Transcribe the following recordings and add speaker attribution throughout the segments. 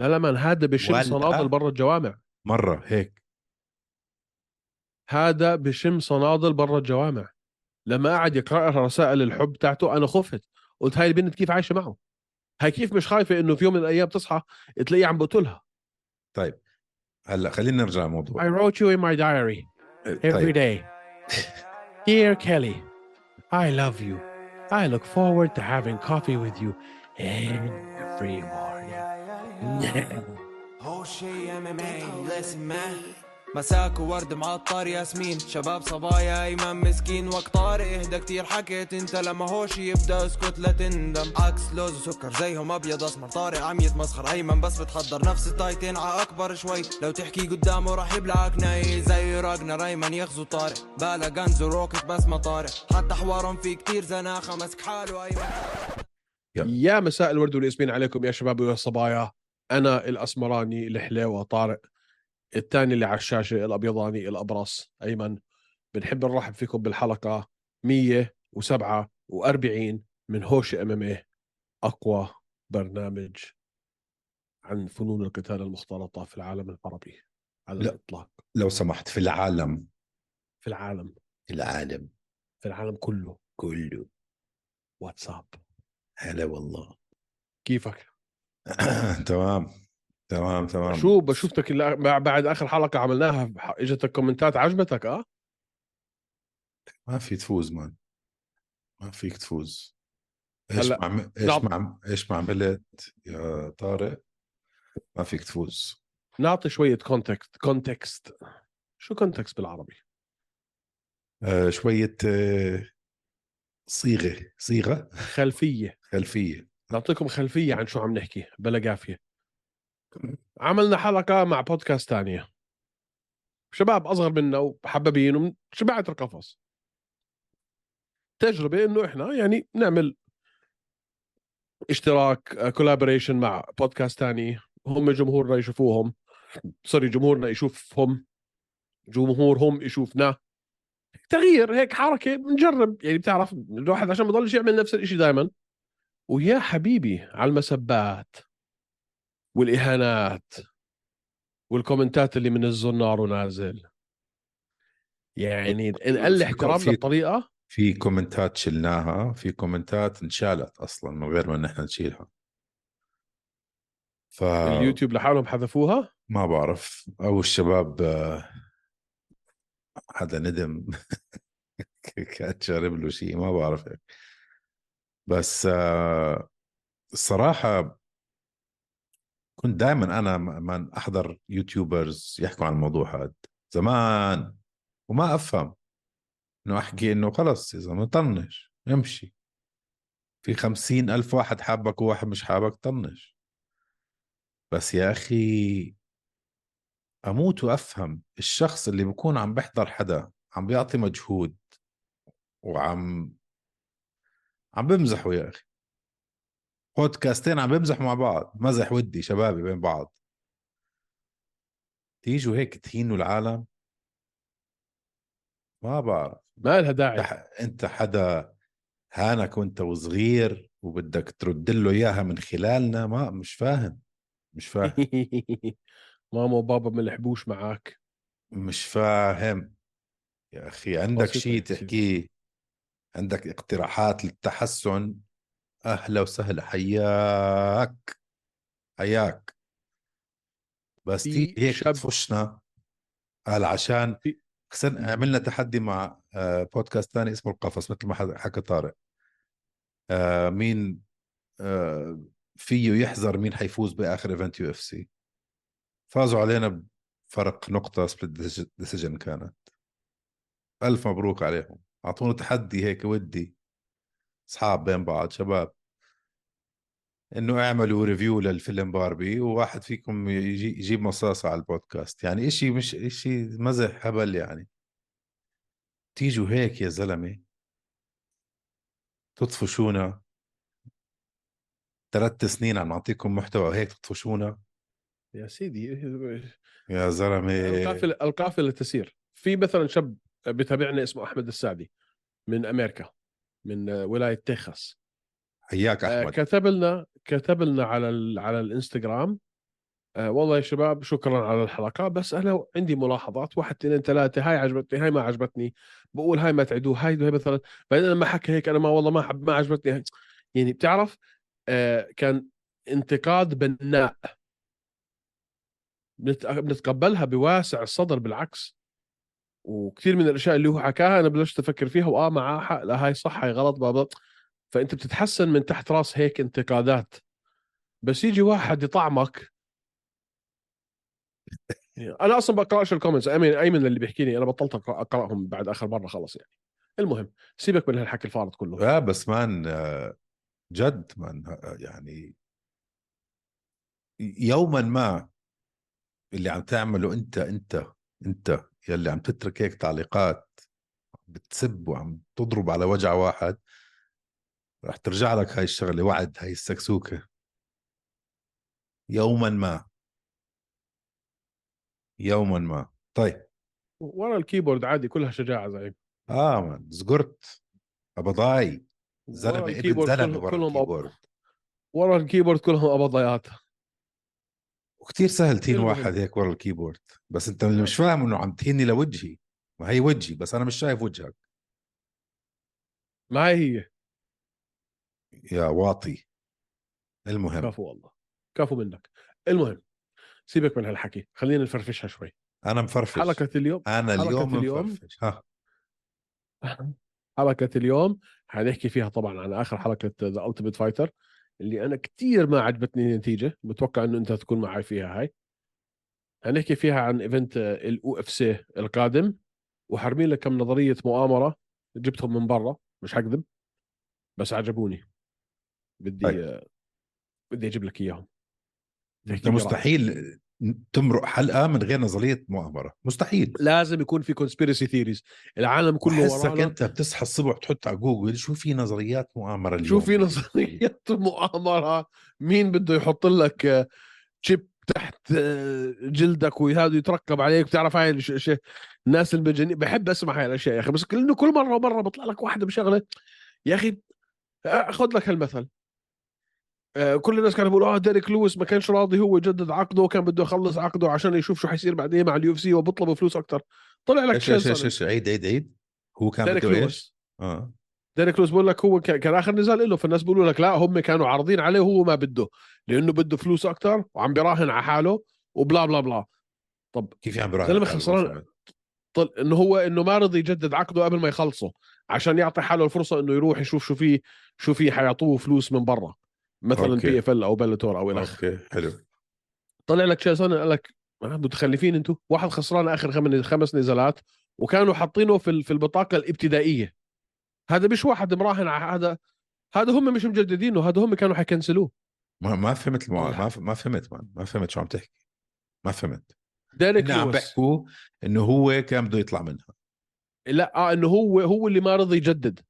Speaker 1: لا لا مان هذا بشم
Speaker 2: ولا.
Speaker 1: صنادل برا الجوامع
Speaker 2: مره آه. هيك
Speaker 1: هذا بشم صنادل برا الجوامع لما قعد يقرأ رسائل الحب تاعته انا خفت قلت هاي البنت كيف عايشه معه هاي كيف مش خايفه انه في يوم من الايام تصحى تلاقيه عم بقتلها
Speaker 2: هلا خلينا نرجع للموضوع
Speaker 1: I wrote you in my diary every
Speaker 2: طيب
Speaker 1: day. Dear Kelly, I love you. I look forward to having coffee with you every morning.
Speaker 3: هو شي ام ام اي ليسن مان مساك وورد معطر ياسمين شباب صبايا ايمن مسكين وقت طارق اهدى كتير حكيت انت لما هوش يبدا اسكت لا تندم عكس لوز وسكر زيهم ابيض اسمر طارق عم يتمسخر ايمن بس بتحضر نفس التايتين ع اكبر شوي لو تحكي قدامه راح يبلعك ناي زي راجنا ريمان يغزو طارق بالا غنز وروكت بس ما طارق حتى حوارهم في كتير زناخه مسك حاله ايمن
Speaker 1: يا مساء الورد والياسمين عليكم يا شباب ويا صبايا انا الاسمراني الحليوه طارق الثاني اللي على الشاشه الابيضاني الابرص ايمن بنحب نرحب فيكم بالحلقه 147 من هوش ام ام اقوى برنامج عن فنون القتال المختلطه في العالم العربي على
Speaker 2: لا.
Speaker 1: الاطلاق
Speaker 2: لو سمحت في العالم
Speaker 1: في العالم
Speaker 2: العالم
Speaker 1: في العالم كله
Speaker 2: كله
Speaker 1: واتساب
Speaker 2: هلا والله
Speaker 1: كيفك
Speaker 2: تمام تمام تمام
Speaker 1: شو بشوفتك الل- بع- بعد اخر حلقه عملناها ح- اجتك كومنتات عجبتك اه
Speaker 2: ما في تفوز مان ما فيك تفوز ايش
Speaker 1: هلا،
Speaker 2: ما عم... ايش
Speaker 1: نعم.
Speaker 2: ما عم... ايش ما عملت يا طارق ما فيك تفوز
Speaker 1: نعطي شويه كونتكست كونتكست شو كونتكست بالعربي
Speaker 2: آه شوية آه صيغة صيغة
Speaker 1: خلفيه
Speaker 2: خلفية
Speaker 1: نعطيكم خلفيه عن شو عم نحكي بلا قافيه عملنا حلقه مع بودكاست تانية شباب اصغر منا وحبابين ومن شبعت القفص تجربه انه احنا يعني نعمل اشتراك كولابوريشن مع بودكاست تاني هم جمهورنا يشوفوهم سوري جمهورنا يشوفهم جمهورهم يشوفنا تغيير هيك حركه بنجرب يعني بتعرف الواحد عشان ما يضلش يعمل نفس الشيء دائما ويا حبيبي على المسبات والاهانات والكومنتات اللي من الزنار ونازل يعني نقل احترامنا
Speaker 2: في-
Speaker 1: بطريقه
Speaker 2: في كومنتات شلناها في كومنتات انشالت اصلا من غير ما نحن نشيلها ف
Speaker 1: اليوتيوب لحالهم حذفوها
Speaker 2: ما بعرف او الشباب آه، حدا ندم كان شارب له شيء ما بعرف هيك بس آه، الصراحه كنت دائما انا م- من احضر يوتيوبرز يحكوا عن الموضوع هذا زمان وما افهم انه احكي انه خلص يا زلمه طنش امشي في خمسين الف واحد حابك وواحد مش حابك طنش بس يا اخي اموت وافهم الشخص اللي بكون عم بحضر حدا عم بيعطي مجهود وعم عم بمزحوا يا اخي بودكاستين عم بمزحوا مع بعض مزح ودي شبابي بين بعض تيجوا هيك تهينوا العالم ما بعرف
Speaker 1: ما لها داعي
Speaker 2: انت ح- انت حدا هانك وانت وصغير وبدك ترد له اياها من خلالنا ما مش فاهم مش فاهم
Speaker 1: ماما وبابا ما لحبوش معك
Speaker 2: مش فاهم يا اخي عندك
Speaker 1: بسيطة
Speaker 2: شيء
Speaker 1: هيك شيء.
Speaker 2: تحكيه عندك اقتراحات للتحسن اهلا وسهلا حياك حياك بس
Speaker 1: في
Speaker 2: تيجي هيك
Speaker 1: شاب-
Speaker 2: تفشنا قال عشان
Speaker 1: في-
Speaker 2: خسرنا عملنا تحدي مع آه، بودكاست ثاني اسمه القفص مثل ما حد- حكى طارق آه، مين آه، فيه يحذر مين حيفوز باخر ايفنت يو اف سي فازوا علينا بفرق نقطة سبليت ديسيجن كانت ألف مبروك عليهم أعطونا تحدي هيك ودي أصحاب بين بعض شباب إنه اعملوا ريفيو للفيلم باربي وواحد فيكم يجي يجيب مصاصة على البودكاست يعني إشي مش إشي مزح هبل يعني تيجوا هيك يا زلمة تطفشونا ثلاث سنين عم نعطيكم محتوى هيك تطفشونا
Speaker 1: يا سيدي
Speaker 2: يا زلمة
Speaker 1: القافله القافله تسير في مثلا شاب بتابعنا اسمه احمد السعدي من امريكا من ولايه تكساس
Speaker 2: حياك
Speaker 1: آه،
Speaker 2: أحمد
Speaker 1: كتب لنا كتب لنا على ال... على الانستغرام آه والله يا شباب شكرا على الحلقه بس انا عندي ملاحظات واحد اثنين ثلاثه هاي عجبتني هاي ما عجبتني بقول هاي ما تعيدوه هاي هاي مثلا بعدين لما حكى هيك انا ما والله ما حب ما عجبتني هاي. يعني بتعرف آه كان انتقاد بناء بنت- بنتقبلها بواسع الصدر بالعكس وكثير من الاشياء اللي هو حكاها انا بلشت افكر فيها واه معاه حق لا هاي صح هاي غلط بابا فانت بتتحسن من تحت راس هيك انتقادات بس يجي واحد يطعمك يعني انا اصلا بقراش الكومنتس ايمن ايمن اللي بيحكي لي انا بطلت أقرأ- اقراهم بعد اخر مره خلص يعني المهم سيبك من هالحكي الفارض كله
Speaker 2: لا بس مان آه، جد مان آه، يعني يوما ما اللي عم تعمله انت انت انت يلي عم تترك هيك تعليقات بتسب وعم تضرب على وجع واحد رح ترجع لك هاي الشغله وعد هاي السكسوكه يوما ما يوما ما طيب
Speaker 1: ورا الكيبورد عادي كلها شجاعه زعيم
Speaker 2: اه مان زقرت ابضاي زلمه
Speaker 1: ورا
Speaker 2: ابن
Speaker 1: آه، الكيبورد
Speaker 2: زلمه
Speaker 1: كلهم كلهم
Speaker 2: ورا
Speaker 1: أب-
Speaker 2: الكيبورد
Speaker 1: ورا الكيبورد كلهم ابضيات
Speaker 2: وكتير سهل تهين
Speaker 1: المهم.
Speaker 2: واحد هيك ورا الكيبورد بس انت
Speaker 1: نعم.
Speaker 2: اللي مش فاهم انه عم تهيني لوجهي ما هي وجهي بس انا مش شايف وجهك
Speaker 1: ما هي هي
Speaker 2: يا واطي المهم
Speaker 1: كفو والله كفو منك المهم سيبك من هالحكي خلينا نفرفشها شوي
Speaker 2: انا مفرفش
Speaker 1: حلقه اليوم
Speaker 2: انا
Speaker 1: حلقة
Speaker 2: اليوم
Speaker 1: اليوم.
Speaker 2: مفرفش ها
Speaker 1: حلقة اليوم حنحكي فيها طبعا عن آخر حلقة ذا Ultimate فايتر اللي أنا كتير ما عجبتني النتيجة بتوقع أنه أنت تكون معي فيها هاي حنحكي فيها عن إيفنت الأو اف سي القادم وحرمين لك كم نظرية مؤامرة جبتهم من برا مش حكذب بس عجبوني بدي
Speaker 2: طيب.
Speaker 1: بدي أجيب لك إياهم
Speaker 2: انت مستحيل تمرق حلقه من غير نظريه مؤامره مستحيل
Speaker 1: لازم يكون في كونسبيرسي ثيريز العالم كله
Speaker 2: بحسك
Speaker 1: ورانا
Speaker 2: انت بتصحى الصبح تحط على جوجل شو في نظريات مؤامره اليوم
Speaker 1: شو في نظرية مؤامرة مين بده يحط لك تشيب تحت آه، جلدك وهذا يتركب عليك بتعرف هاي الش- الش- الناس المجانين بحب اسمع هاي الاشياء يا اخي بس لانه كل مره ومره بطلع لك واحده بشغله يا اخي آه، خذ لك هالمثل آه، كل الناس كانوا بيقولوا اه ديريك لويس ما كانش راضي هو يجدد عقده وكان بده يخلص عقده عشان يشوف شو حيصير بعدين مع اليو اف سي وبيطلبوا فلوس اكثر طلع لك
Speaker 2: ايش
Speaker 1: شين
Speaker 2: ايش ايش
Speaker 1: سوني
Speaker 2: ايش عيد عيد عيد هو كان
Speaker 1: ديريك
Speaker 2: بده ايش؟
Speaker 1: لويس
Speaker 2: اه
Speaker 1: ديريك لويس بقول لك هو كان كان اخر نزال له فالناس بيقولوا لك لا هم كانوا عارضين عليه وهو ما بده لانه بده فلوس اكثر وعم بيراهن على حاله وبلا بلا بلا طب
Speaker 2: كيف يعني براحة
Speaker 1: زلمة خسران. طل... انه هو انه ما رضي يجدد عقده قبل ما يخلصه عشان يعطي حاله الفرصه انه يروح يشوف شو في شو في حيعطوه فلوس من برا مثلا
Speaker 2: أوكي.
Speaker 1: بي اف ال او بلاتور او الى آخره.
Speaker 2: اوكي حلو
Speaker 1: طلع لك شازان قال لك آه، متخلفين انتم واحد خسران اخر خمس خمس نزالات وكانوا حاطينه في ال- في البطاقه الابتدائيه هذا مش واحد مراهن على هذا هذا هم مش مجددينه هذا هم كانوا حيكنسلوه
Speaker 2: ما ما فهمت المع...
Speaker 1: والله.
Speaker 2: ما, ف... ما فهمت مان ما فهمت شو عم تحكي ما فهمت
Speaker 1: ديريك
Speaker 2: هن عم
Speaker 1: لويس
Speaker 2: بحكوا انه هو كان بده يطلع منها
Speaker 1: لا آه انه هو هو اللي ما رضي يجدد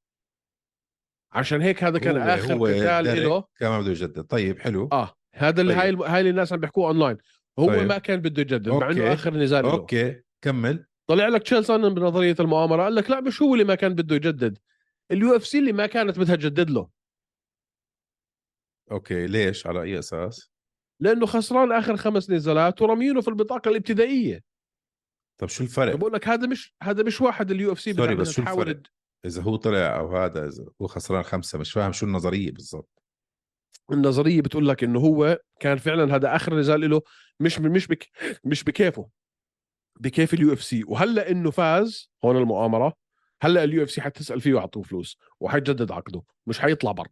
Speaker 1: عشان هيك هذا كان
Speaker 2: هو-
Speaker 1: اخر
Speaker 2: هو ديريك.
Speaker 1: قتال له
Speaker 2: كان ما بده يجدد طيب حلو
Speaker 1: اه هذا اللي
Speaker 2: طيب.
Speaker 1: هاي الم- هاي اللي الناس عم بيحكوه اونلاين هو
Speaker 2: طيب.
Speaker 1: طيب. ما كان بده يجدد مع
Speaker 2: أوكي.
Speaker 1: انه اخر نزال له
Speaker 2: اوكي كمل
Speaker 1: طلع لك تشيل سانن بنظريه المؤامره قال لك لا مش هو اللي ما كان بده يجدد اليو اف سي اللي ما كانت بدها تجدد له
Speaker 2: اوكي ليش على اي اساس
Speaker 1: لانه خسران اخر خمس نزالات ورميينه في البطاقه الابتدائيه
Speaker 2: طب طيب، شو الفرق
Speaker 1: بقول لك هذا مش هذا مش واحد اليو اف سي
Speaker 2: سوري، بس شو
Speaker 1: تحاول
Speaker 2: الفرق؟ اذا هو طلع او هذا اذا هو خسران خمسه مش فاهم شو النظريه بالضبط
Speaker 1: النظريه بتقول لك انه هو كان فعلا هذا اخر نزال له مش مش بك مش بكيفه بكيف اليو اف سي وهلا انه فاز هون المؤامره هلا اليو اف سي حتسال فيه ويعطوه فلوس وحيجدد عقده مش حيطلع برا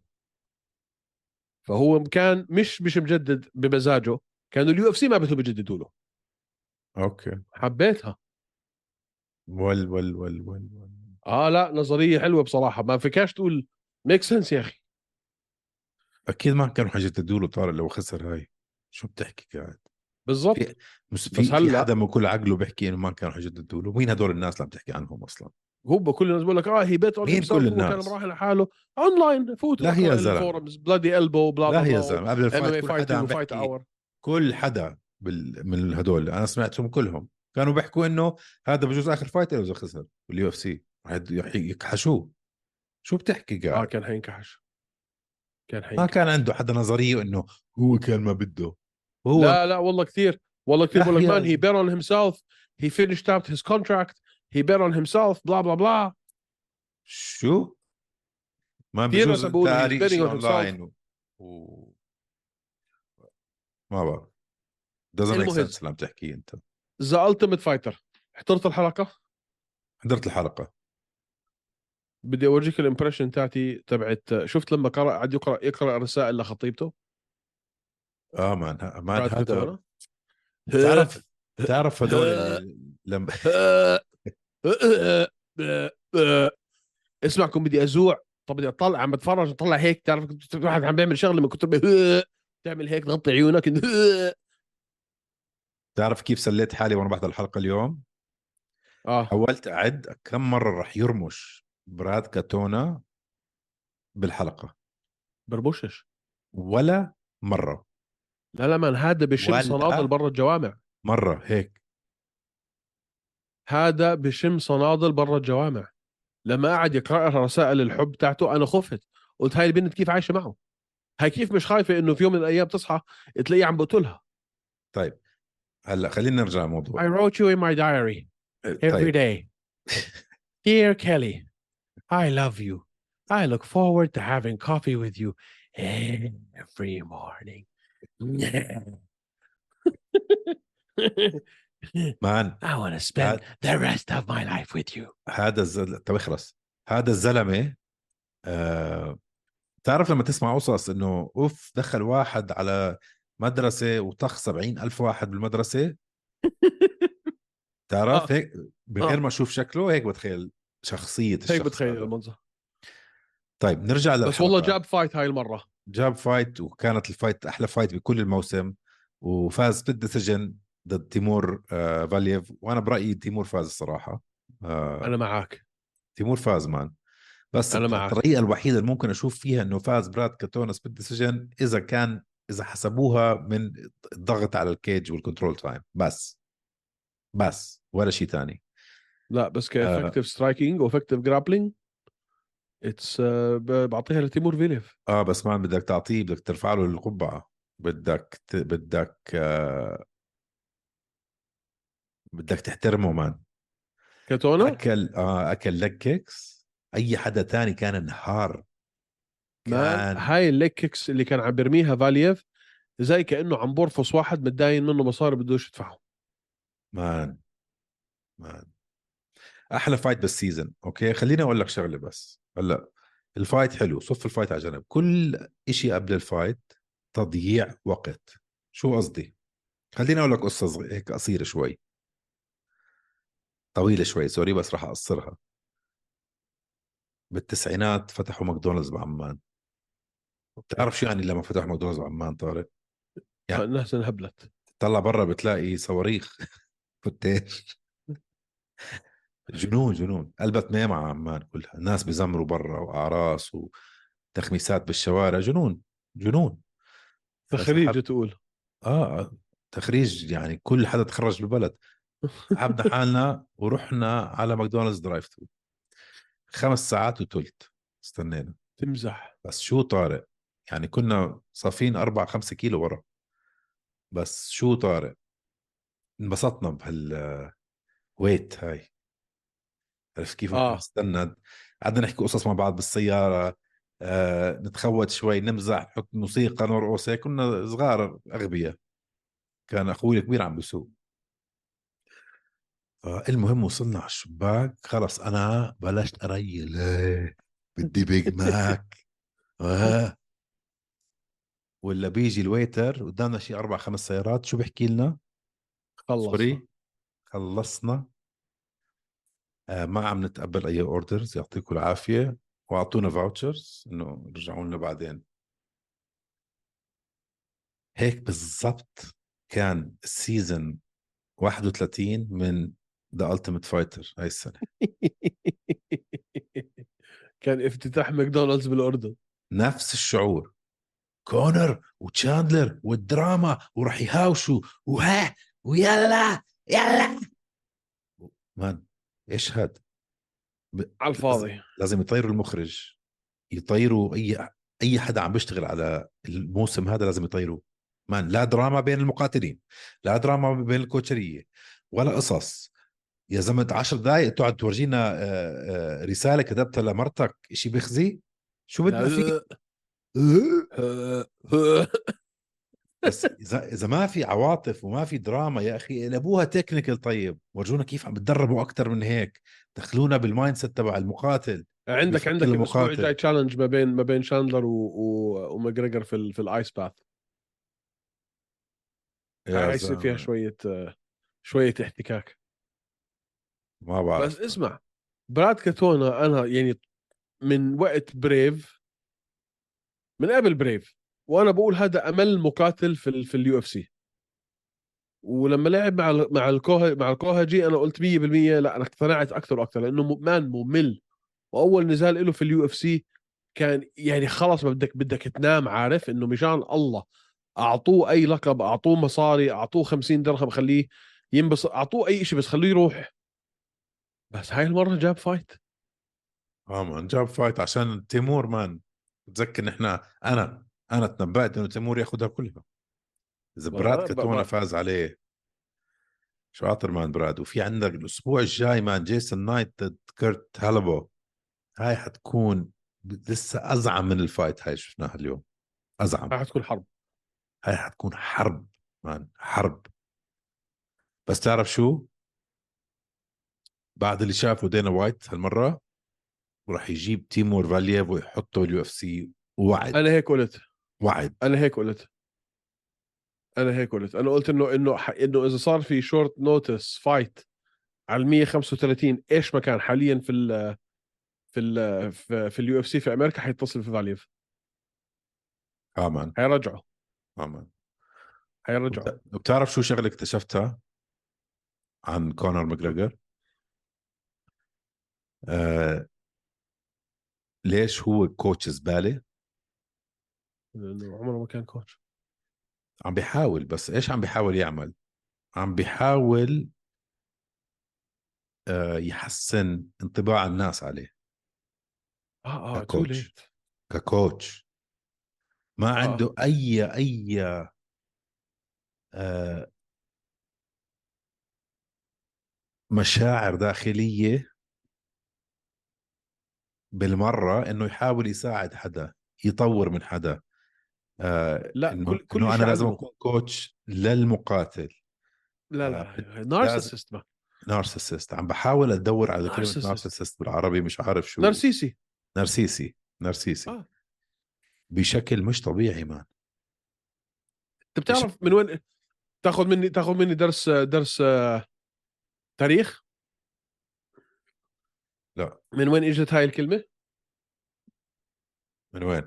Speaker 1: فهو كان مش مش مجدد بمزاجه كانوا اليو اف سي ما بدهم يجددوا له
Speaker 2: اوكي
Speaker 1: حبيتها
Speaker 2: ول ول ول ول ول
Speaker 1: اه لا نظريه حلوه بصراحه ما فيكاش تقول ميك سنس يا اخي
Speaker 2: اكيد ما كانوا حيجددوا له طارق لو خسر هاي شو بتحكي قاعد
Speaker 1: بالضبط
Speaker 2: في- مس- في
Speaker 1: بس
Speaker 2: في
Speaker 1: هلأ-
Speaker 2: حدا من كل عقله بيحكي انه ما كانوا حيجددوا له مين هدول الناس اللي عم تحكي عنهم اصلا
Speaker 1: هو كل الناس بقول لك اه هي بيت اون
Speaker 2: مين كل الناس؟
Speaker 1: كان مراحل لحاله اونلاين فوتوا
Speaker 2: لا هي يا زلمة.
Speaker 1: الفورمز بلادي البو بلا
Speaker 2: لا
Speaker 1: بلا
Speaker 2: يا زلمه قبل
Speaker 1: ام
Speaker 2: الفايت
Speaker 1: اي
Speaker 2: كل حدا عم
Speaker 1: فايتنج وفايت
Speaker 2: بيحكي
Speaker 1: اور
Speaker 2: كل حدا بال... من هدول انا سمعتهم كلهم كانوا بيحكوا انه هذا بجوز اخر فايت له اذا خسر باليو اف سي يكحشوه شو بتحكي
Speaker 1: اه
Speaker 2: قاعد
Speaker 1: كان حينكحش كان حينكحش
Speaker 2: ما كان عنده حدا نظريه انه هو كان ما بده وهو
Speaker 1: لا لا والله كثير والله كثير بقول لك
Speaker 2: أحيانا.
Speaker 1: مان هي بيت اون هيم سيلف هي فينيشد اوت هيز كونتراكت هي بيت اون هيم سيلف بلا بلا بلا
Speaker 2: شو؟ ما
Speaker 1: كثير
Speaker 2: بجوز
Speaker 1: ناس بقول he's
Speaker 2: التاريخ
Speaker 1: betting on himself.
Speaker 2: شي online و... و... ما بعرف doesn't make
Speaker 1: المهم.
Speaker 2: sense اللي عم تحكيه انت
Speaker 1: ذا التيميت فايتر حضرت الحلقه
Speaker 2: حضرت الحلقه
Speaker 1: بدي اورجيك الامبريشن تاعتي تبعت شفت لما قرا قعد يقرا يقرا رسائل لخطيبته
Speaker 2: اه مان مان
Speaker 1: قعد كنت
Speaker 2: هذا
Speaker 1: أنا.
Speaker 2: تعرف تعرف هدول اللي- لما
Speaker 1: آه، اسمعكم بدي ازوع طب بدي اطلع عم بتفرج اطلع هيك تعرف كنت واحد عم بيعمل شغله من كتر ما آه، تعمل هيك تغطي عيونك
Speaker 2: تعرف كيف سليت حالي وانا بحضر الحلقه اليوم
Speaker 1: اه
Speaker 2: حاولت اعد كم مره راح يرمش براد كاتونا بالحلقه
Speaker 1: بربشش
Speaker 2: ولا مره
Speaker 1: لا لا مان هذا بشم
Speaker 2: ولا.
Speaker 1: صنادل برا الجوامع
Speaker 2: مره هيك
Speaker 1: هذا بشم صنادل برا الجوامع لما قعد يقرا رسائل الحب تاعته انا خفت قلت هاي البنت كيف عايشه معه هاي كيف مش خايفه انه في يوم من الايام تصحى تلاقيه عم بقتلها
Speaker 2: هلا خلينا نرجع
Speaker 1: I
Speaker 2: للموضوع
Speaker 1: wrote you in my diary every
Speaker 2: طيب
Speaker 1: day. Dear Kelly, I love you. I look forward to having coffee with you every morning.
Speaker 2: مان
Speaker 1: I want to spend the rest of my life with you.
Speaker 2: هذا الزل... طب اخلص هذا الزلمه آه... تعرف لما تسمع قصص انه اوف دخل واحد على مدرسه وطخ سبعين ألف واحد بالمدرسه تعرف
Speaker 1: آه.
Speaker 2: هيك من غير
Speaker 1: آه.
Speaker 2: ما اشوف شكله هيك بتخيل شخصيه
Speaker 1: هيك
Speaker 2: الشخص
Speaker 1: بتخيل
Speaker 2: هذا.
Speaker 1: المنظر
Speaker 2: طيب نرجع للحلقة.
Speaker 1: بس والله جاب فايت هاي المره
Speaker 2: جاب فايت وكانت الفايت احلى فايت بكل الموسم وفاز بالديسيجن ضد تيمور آه فاليف وانا برايي تيمور فاز الصراحه آه
Speaker 1: انا معك
Speaker 2: تيمور فاز مان بس
Speaker 1: أنا معك.
Speaker 2: الطريقه الوحيده اللي ممكن اشوف فيها انه فاز براد كاتونس بالديسيجن اذا كان اذا حسبوها من الضغط على الكيج والكنترول تايم بس بس ولا شيء ثاني
Speaker 1: لا بس
Speaker 2: آه.
Speaker 1: كافكتيف سترايكينج وافكتيف جرابلينج اتس بعطيها لتيمور فيليف
Speaker 2: اه بس مان بدك تعطيه بدك ترفع له القبعه بدك ت... بدك آه... بدك تحترمه مان
Speaker 1: كاتونا
Speaker 2: اكل اه اكل لك كيكس اي حدا تاني كان انهار
Speaker 1: مان
Speaker 2: كان
Speaker 1: هاي الليك كيكس اللي كان عم بيرميها فالييف زي كانه عم بورفص واحد متداين منه مصاري بدوش يدفعهم
Speaker 2: مان مان احلى فايت بالسيزون اوكي خليني اقول لك شغله بس هلا الفايت حلو صف الفايت على جنب كل إشي قبل الفايت تضييع وقت شو قصدي خليني اقول لك قصه صغ- هيك قصيره شوي طويله شوي سوري بس راح اقصرها بالتسعينات فتحوا ماكدونالدز بعمان بتعرف شو يعني لما فتحوا ماكدونالدز بعمان طارق يعني-
Speaker 1: الناس انهبلت
Speaker 2: طلع برا بتلاقي صواريخ فتاش جنون جنون قلبت ميمة على عمان كلها الناس بزمروا برا وأعراس وتخميسات بالشوارع جنون جنون
Speaker 1: تخريجه تقول
Speaker 2: اه تخريج يعني كل حدا تخرج بالبلد عبنا حالنا ورحنا على ماكدونالدز درايف ثرو خمس ساعات وثلث استنينا
Speaker 1: تمزح
Speaker 2: بس شو طارق يعني كنا صافين أربعة خمسة كيلو ورا بس شو طارق انبسطنا بهال ويت هاي عرفت كيف
Speaker 1: آه.
Speaker 2: آه. استنى قعدنا نحكي قصص مع بعض بالسيارة آه نتخوت شوي نمزح نحط موسيقى نرقص هيك كنا صغار أغبياء كان أخوي الكبير عم بيسوق فالمهم وصلنا على الشباك خلص أنا بلشت أريل إيه، بدي بيج ماك آه. ولا بيجي الويتر قدامنا شي اربع خمس سيارات شو بحكي لنا؟
Speaker 1: خلص
Speaker 2: سوري خلصنا آه ما عم نتقبل اي اوردرز يعطيكم العافيه واعطونا فاوتشرز انه رجعوا لنا بعدين هيك بالضبط كان السيزون 31 من ذا التيمت فايتر هاي السنه
Speaker 1: كان افتتاح ماكدونالدز بالاردن
Speaker 2: نفس الشعور كونر وتشاندلر والدراما وراح يهاوشوا وها ويلا يلا مان ايش هاد
Speaker 1: على الفاضي
Speaker 2: لازم يطيروا المخرج يطيروا اي اي حدا عم بيشتغل على الموسم هذا لازم يطيروه مان لا دراما بين المقاتلين لا دراما بين الكوتشريه ولا قصص يا زلمه 10 دقائق تقعد تورجينا آه، آه، رساله كتبتها لمرتك شيء بيخزي شو بدنا
Speaker 1: يعني
Speaker 2: فيه بس اذا اذا ما في عواطف وما في دراما يا اخي قلبوها تكنيكال طيب ورجونا كيف عم بتدربوا اكثر من هيك دخلونا بالمايند سيت تبع المقاتل
Speaker 1: عندك
Speaker 2: بفكر
Speaker 1: عندك الاسبوع
Speaker 2: المقاتل.
Speaker 1: الجاي تشالنج ما بين ما بين شاندلر و... و... وماجريجر في ال... في الايس باث
Speaker 2: يا
Speaker 1: حيصير
Speaker 2: زلمة،
Speaker 1: فيها شويه آه، شويه احتكاك
Speaker 2: ما بعرف
Speaker 1: بس اسمع براد كاتونا انا يعني من وقت بريف من قبل بريف وانا بقول هذا امل مقاتل في ال في اليو اف سي ولما لعب مع ال- مع الكوه مع الكوهجي انا قلت 100% لا انا اقتنعت اكثر واكثر لانه م- مان ممل واول نزال له في اليو اف سي كان يعني خلاص ما بدك بدك تنام عارف انه مشان الله اعطوه اي لقب اعطوه مصاري اعطوه 50 درهم خليه ينبسط اعطوه اي شيء بس خليه يروح بس هاي المره جاب فايت
Speaker 2: اه مان جاب فايت عشان تيمور مان بتذكر نحن انا انا تنبأت انه تيمور ياخذها كلها اذا
Speaker 1: ما-
Speaker 2: براد
Speaker 1: ما-
Speaker 2: كاتونا
Speaker 1: ما-
Speaker 2: فاز عليه شاطر مان براد وفي عندك الاسبوع الجاي مان جيسون نايت ضد كيرت هالبو هاي حتكون ب- لسه ازعم من الفايت هاي شفناها اليوم ازعم
Speaker 1: راح تكون حرب
Speaker 2: هاي حتكون حرب مان حرب بس تعرف شو بعد اللي شافه دينا وايت هالمره وراح يجيب تيمور فالييف ويحطه اليو اف سي وعد
Speaker 1: انا هيك قلت
Speaker 2: وعد
Speaker 1: انا هيك قلت انا هيك قلت انا قلت انه انه ح- انه اذا صار في شورت نوتس فايت على ال 135 ايش ما كان حاليا في ال في ال في, في اليو اف سي في امريكا حيتصل في فاليف
Speaker 2: امان
Speaker 1: حيرجعوا
Speaker 2: امان
Speaker 1: حيرجعوا
Speaker 2: بتعرف شو شغله اكتشفتها عن كونر ماجريجر آه ليش هو كوتش زباله
Speaker 1: لانه عمره ما كان كوتش
Speaker 2: عم بيحاول بس ايش عم بيحاول يعمل عم بيحاول آه يحسن انطباع الناس عليه
Speaker 1: اه اه تو
Speaker 2: ككوتش.
Speaker 1: ليت
Speaker 2: ككوتش ما
Speaker 1: آه.
Speaker 2: عنده اي اي آه، مشاعر داخليه بالمره انه يحاول يساعد حدا يطور من حدا آه
Speaker 1: لا،
Speaker 2: إنه
Speaker 1: كل- كل
Speaker 2: إنه
Speaker 1: شيء
Speaker 2: انا لازم
Speaker 1: عنده.
Speaker 2: اكون كوتش للمقاتل
Speaker 1: لا لا نارسست ما
Speaker 2: نارسيسست عم بحاول ادور على كلمه
Speaker 1: Narcissist.
Speaker 2: نارسيسست بالعربي مش عارف شو
Speaker 1: نارسيسي
Speaker 2: نرسيسي نرسيسي
Speaker 1: آه.
Speaker 2: بشكل مش طبيعي مان
Speaker 1: انت بتعرف من وين تاخذ مني تاخذ مني درس درس آه، تاريخ
Speaker 2: لا.
Speaker 1: من وين اجت هاي الكلمه
Speaker 2: من وين؟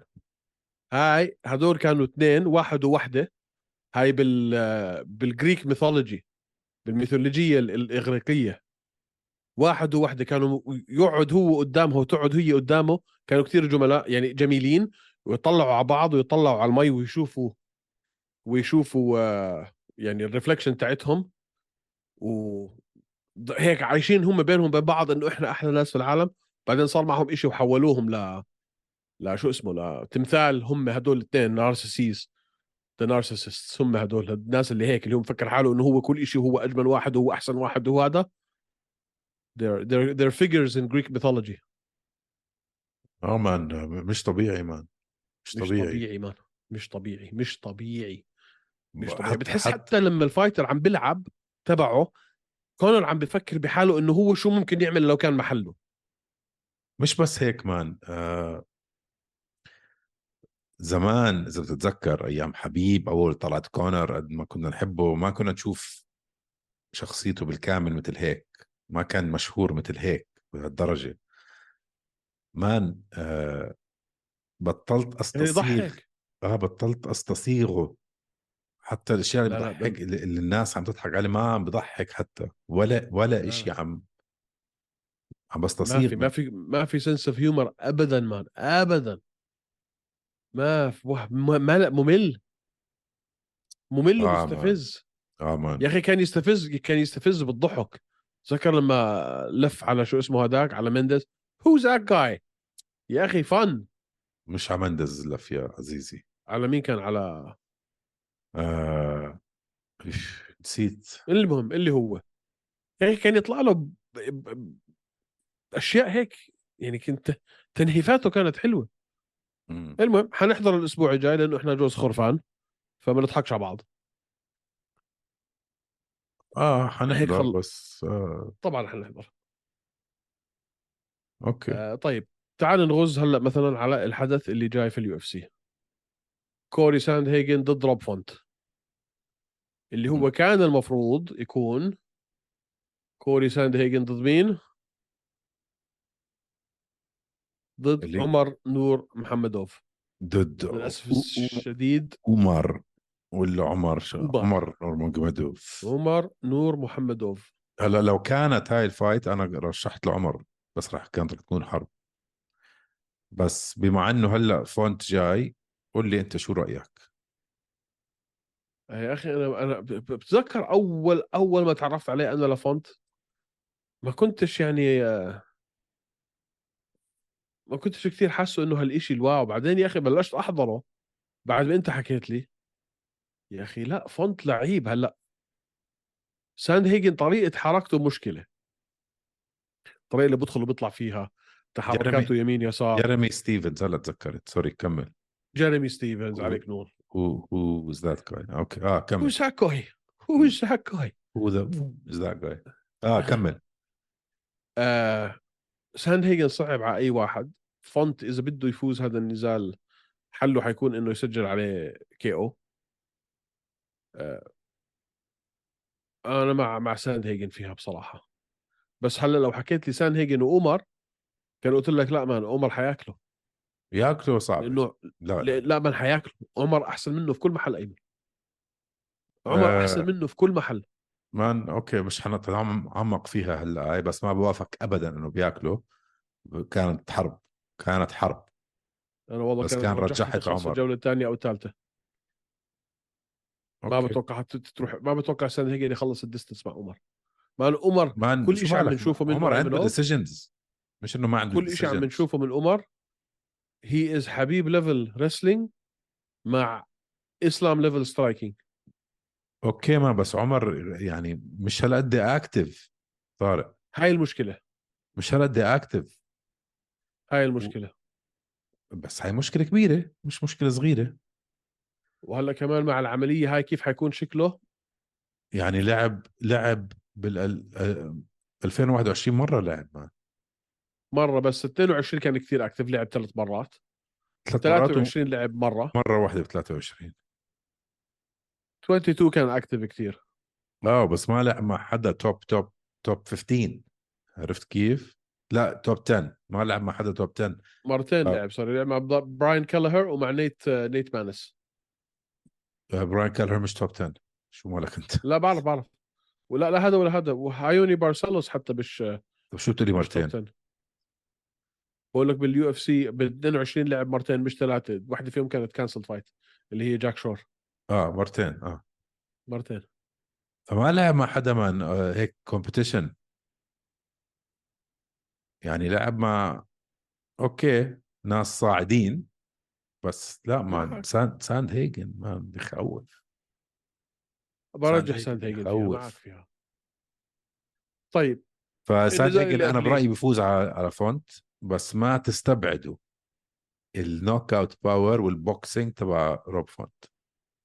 Speaker 1: هاي هدول كانوا اثنين واحد ووحده هاي بال آه، بالجريك ميثولوجي بالميثولوجيه ال- الاغريقيه واحد ووحده كانوا يقعد هو قدامها وتقعد هي قدامه كانوا كثير جملاء يعني جميلين ويطلعوا على بعض ويطلعوا على المي ويشوفوا ويشوفوا آه، يعني الريفلكشن تاعتهم و ض- هيك عايشين هم بينهم بين بعض انه احنا احلى ناس في العالم بعدين صار معهم إشي وحولوهم ل لا شو اسمه لتمثال هم هدول الاثنين نارسيسيس ذا نارسيسست هم هدول الناس اللي هيك اللي هو مفكر حاله انه هو كل إشي هو اجمل واحد وهو احسن واحد وهو هذا they're, they're, they're figures in Greek mythology
Speaker 2: اه مان مش طبيعي مان مش
Speaker 1: مش
Speaker 2: طبيعي,
Speaker 1: طبيعي مان مش طبيعي مش طبيعي مش طبيعي
Speaker 2: حتى-
Speaker 1: بتحس
Speaker 2: حتى-
Speaker 1: حتى لما الفايتر عم بيلعب تبعه كونر عم بفكر بحاله انه هو شو ممكن يعمل لو كان محله
Speaker 2: مش بس هيك مان آه زمان اذا بتتذكر ايام حبيب اول طلعت كونر قد ما كنا نحبه ما كنا نشوف شخصيته بالكامل مثل هيك ما كان مشهور مثل هيك بهالدرجه مان آه بطلت
Speaker 1: يعني
Speaker 2: استصيغ
Speaker 1: يضحك
Speaker 2: اه بطلت استصيغه حتى الاشياء اللي
Speaker 1: لا، لا،
Speaker 2: بضحك اللي اللي الناس عم تضحك عليه ما عم بضحك حتى ولا ولا شيء عم عم
Speaker 1: ما
Speaker 2: بستصيغ
Speaker 1: في ما في ما في سنس اوف هيومر ابدا مان ابدا ما في واه، ما ما- لا ممل ممل
Speaker 2: آه، مان.
Speaker 1: ومستفز
Speaker 2: اه مان
Speaker 1: يا اخي كان يستفز كان يستفز بالضحك تذكر لما لف على شو اسمه هذاك على مندز هو ذاك جاي يا اخي فن
Speaker 2: مش عمندز لف يا عزيزي
Speaker 1: على مين كان على
Speaker 2: آه... إيش، نسيت
Speaker 1: المهم اللي هو يعني كان يطلع له ب... ب... ب... اشياء هيك يعني كنت تنهيفاته كانت حلوه
Speaker 2: مم.
Speaker 1: المهم حنحضر الاسبوع الجاي لانه احنا جوز خرفان فما نضحكش على بعض
Speaker 2: اه حنحضر
Speaker 1: خل-
Speaker 2: بس آه...
Speaker 1: طبعا حنحضر
Speaker 2: اوكي
Speaker 1: آه طيب تعال نغز هلا مثلا على الحدث اللي جاي في اليو اف سي كوري ساند هيجن ضد روب فونت اللي
Speaker 2: مم.
Speaker 1: هو كان المفروض يكون كوري ساند هيجن ضد مين؟ ضد
Speaker 2: اللي-
Speaker 1: عمر نور محمدوف
Speaker 2: ضد
Speaker 1: للاسف
Speaker 2: أو-
Speaker 1: الشديد
Speaker 2: أو- عمر ولا عمر شو
Speaker 1: أوبر.
Speaker 2: عمر نورمانجمدوف
Speaker 1: عمر نور محمدوف
Speaker 2: هلا لو كانت هاي الفايت انا رشحت لعمر بس راح كانت رح تكون حرب بس بما انه هلا فونت جاي قول لي انت شو رايك
Speaker 1: يا اخي انا انا ب- ب- بتذكر اول اول ما تعرفت عليه انا لافونت ما كنتش يعني آه، ما كنتش كثير حاسه انه هالإشي الواو بعدين يا اخي بلشت احضره بعد ما انت حكيت لي يا اخي لا فونت لعيب هلا ساند هيجن طريقه حركته مشكله الطريقه اللي بدخل وبيطلع فيها تحركاته يمين يسار
Speaker 2: جيرمي ستيفنز هلا تذكرت سوري كمل
Speaker 1: جيريمي ستيفنز عليك نور
Speaker 2: هو هو از ذات جاي اوكي اه كمل
Speaker 1: Who's that guy? Who's that guy?
Speaker 2: هو ذا از ذات جاي اه كمل
Speaker 1: آه ساند هيجن صعب على اي واحد فونت اذا بده يفوز هذا النزال حله حيكون انه يسجل عليه كي او آه انا مع مع ساند هيجن فيها بصراحه بس هلا لو حكيت لي ساند هيجن وعمر كان قلت لك لا مان عمر حياكله
Speaker 2: ياكله صعب
Speaker 1: لانه
Speaker 2: لا
Speaker 1: لا لا مان حياكله عمر احسن منه في كل محل ايمن عمر
Speaker 2: آه.
Speaker 1: احسن منه في كل محل
Speaker 2: مان اوكي مش حنتعمق فيها هلا هاي بس ما بوافق ابدا انه بياكله كانت حرب كانت حرب
Speaker 1: انا والله
Speaker 2: بس كان رجحت عمر.
Speaker 1: الجوله الثانيه او الثالثه ما
Speaker 2: أوكي.
Speaker 1: بتوقع حت- تروح ما بتوقع سان هيجن يخلص الديستنس مع عمر مع إنه عمر
Speaker 2: مان
Speaker 1: كل
Speaker 2: شو
Speaker 1: إشي عم
Speaker 2: بالك؟
Speaker 1: بنشوفه منه
Speaker 2: عمر عنده
Speaker 1: عمله.
Speaker 2: ديسيجنز مش انه ما عنده
Speaker 1: كل شيء عم
Speaker 2: decisions.
Speaker 1: بنشوفه من عمر هي از حبيب ليفل ريسلينج مع اسلام ليفل سترايكينج
Speaker 2: اوكي ما بس عمر يعني مش هالقد اكتف طارق
Speaker 1: هاي المشكله
Speaker 2: مش هالقد اكتف
Speaker 1: هاي المشكله
Speaker 2: بس هاي مشكله كبيره مش مشكله صغيره
Speaker 1: وهلا كمان مع العمليه هاي كيف حيكون شكله
Speaker 2: يعني لعب لعب آه، بال ال- 2021 مره لعب مان
Speaker 1: مره بس 22 كان كثير اكتف لعب ثلاث مرات
Speaker 2: ثلاث مرات
Speaker 1: 23 لعب مره
Speaker 2: مره واحده ب 23
Speaker 1: 22 كان اكتف كثير
Speaker 2: اه بس ما لعب مع حدا توب توب توب 15 عرفت كيف؟ لا توب 10 ما لعب مع حدا توب 10
Speaker 1: مرتين
Speaker 2: آه.
Speaker 1: لعب سوري لعب مع بلا- براين كالهر ومع نيت آه، نيت مانس
Speaker 2: آه، براين كالهر مش توب 10 شو مالك انت؟
Speaker 1: لا بعرف بعرف ولا لا هذا ولا هذا وهايوني بارسلوس حتى مش
Speaker 2: طب شو بتقولي
Speaker 1: مش توب
Speaker 2: مرتين؟
Speaker 1: 10. بقول لك باليو اف سي بال 22 لعب مرتين مش ثلاثه واحده فيهم كانت كانسل فايت اللي هي جاك شور
Speaker 2: اه مرتين اه
Speaker 1: مرتين
Speaker 2: فما لعب مع حدا من آه، هيك كومبيتيشن يعني لعب مع اوكي ناس صاعدين بس لا مع
Speaker 1: معك.
Speaker 2: ساند ساند هيجن ما بخوف
Speaker 1: برجح
Speaker 2: هيجن
Speaker 1: ساند هيجن فيها
Speaker 2: يخوف.
Speaker 1: معك فيها طيب
Speaker 2: فساند
Speaker 1: النزال
Speaker 2: هيجن
Speaker 1: اللي
Speaker 2: انا
Speaker 1: قبليه.
Speaker 2: برايي بفوز على على فونت بس ما تستبعدوا النوك اوت باور والبوكسينج تبع روب فونت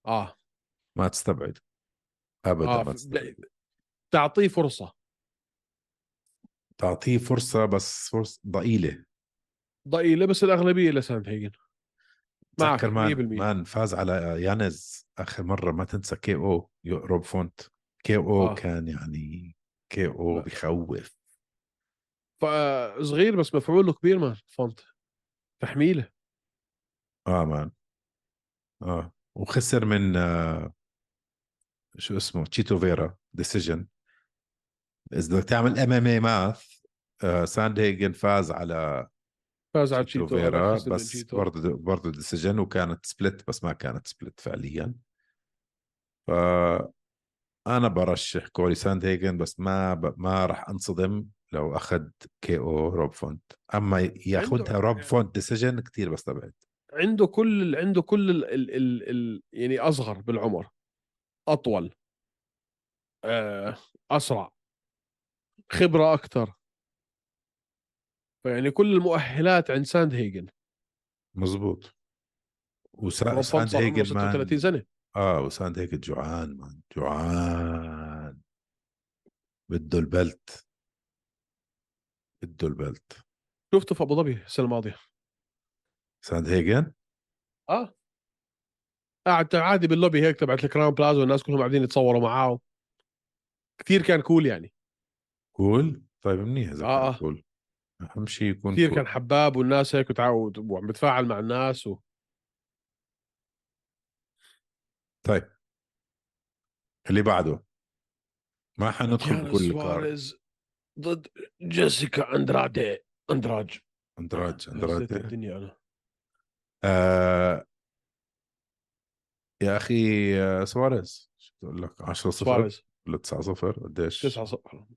Speaker 1: اه
Speaker 2: ما تستبعدوا ابدا
Speaker 1: اه
Speaker 2: ما
Speaker 1: ف-
Speaker 2: تستبعدوا
Speaker 1: تعطيه فرصه
Speaker 2: تعطيه فرصه بس فرصه ضئيله
Speaker 1: ضئيله بس الاغلبيه لساند هيجن معك
Speaker 2: تذكر مان
Speaker 1: 100%.
Speaker 2: مان فاز على يانز اخر مره ما تنسى كي او يو- روب فونت كي او
Speaker 1: آه.
Speaker 2: كان يعني كي او
Speaker 1: لا.
Speaker 2: بخوف
Speaker 1: فصغير بس مفعوله كبير مان فونت تحميله
Speaker 2: اه مان اه وخسر من آه شو اسمه تشيتو فيرا ديسيجن اذا بدك تعمل ام ام اي ماث ساند هيجن آه، فاز على
Speaker 1: فاز على
Speaker 2: تشيتو
Speaker 1: تشيتو
Speaker 2: فيرا
Speaker 1: خسر من
Speaker 2: بس
Speaker 1: تشيتو.
Speaker 2: برضه برضه ديسيجن وكانت سبلت بس ما كانت سبلت فعليا ف انا برشح كوري ساند هيجن بس ما ب... ما راح انصدم لو اخذ كي او روب فونت اما ياخذها
Speaker 1: عنده-
Speaker 2: روب فونت ديسيجن كثير بستبعد
Speaker 1: عنده كل عنده كل ال ال ال ال يعني اصغر بالعمر اطول آه، اسرع خبره اكثر فيعني كل المؤهلات عند ساند هيجن
Speaker 2: مظبوط
Speaker 1: روب
Speaker 2: وساند
Speaker 1: فانسر عمره
Speaker 2: هيجن
Speaker 1: 36
Speaker 2: مان
Speaker 1: سنه
Speaker 2: اه وساند هيجن جوعان مان جوعان بده البلت بده البلت
Speaker 1: شفته في ابو ظبي السنه الماضيه
Speaker 2: ساند هيجن
Speaker 1: اه قاعد عادي باللوبي هيك تبعت الكراون بلازا والناس كلهم قاعدين يتصوروا معاه كثير كان كول يعني
Speaker 2: كول طيب منيح اذا
Speaker 1: آه،
Speaker 2: آه.
Speaker 1: آه.
Speaker 2: كان كول اهم شيء يكون
Speaker 1: كثير
Speaker 2: cool.
Speaker 1: كان حباب والناس هيك وتعود وعم بتفاعل مع الناس و...
Speaker 2: طيب اللي بعده ما حندخل
Speaker 1: كيانا
Speaker 2: بكل الكارد
Speaker 1: سواريز ضد جيسيكا اندرادي اندراج
Speaker 2: اندراج
Speaker 1: نسيت
Speaker 2: اندراج
Speaker 1: الدنيا انا
Speaker 2: آه يا اخي آه، سواريز شو بقول لك 10 0
Speaker 1: سواريز
Speaker 2: ولا 9 0 قديش
Speaker 1: 9 صفر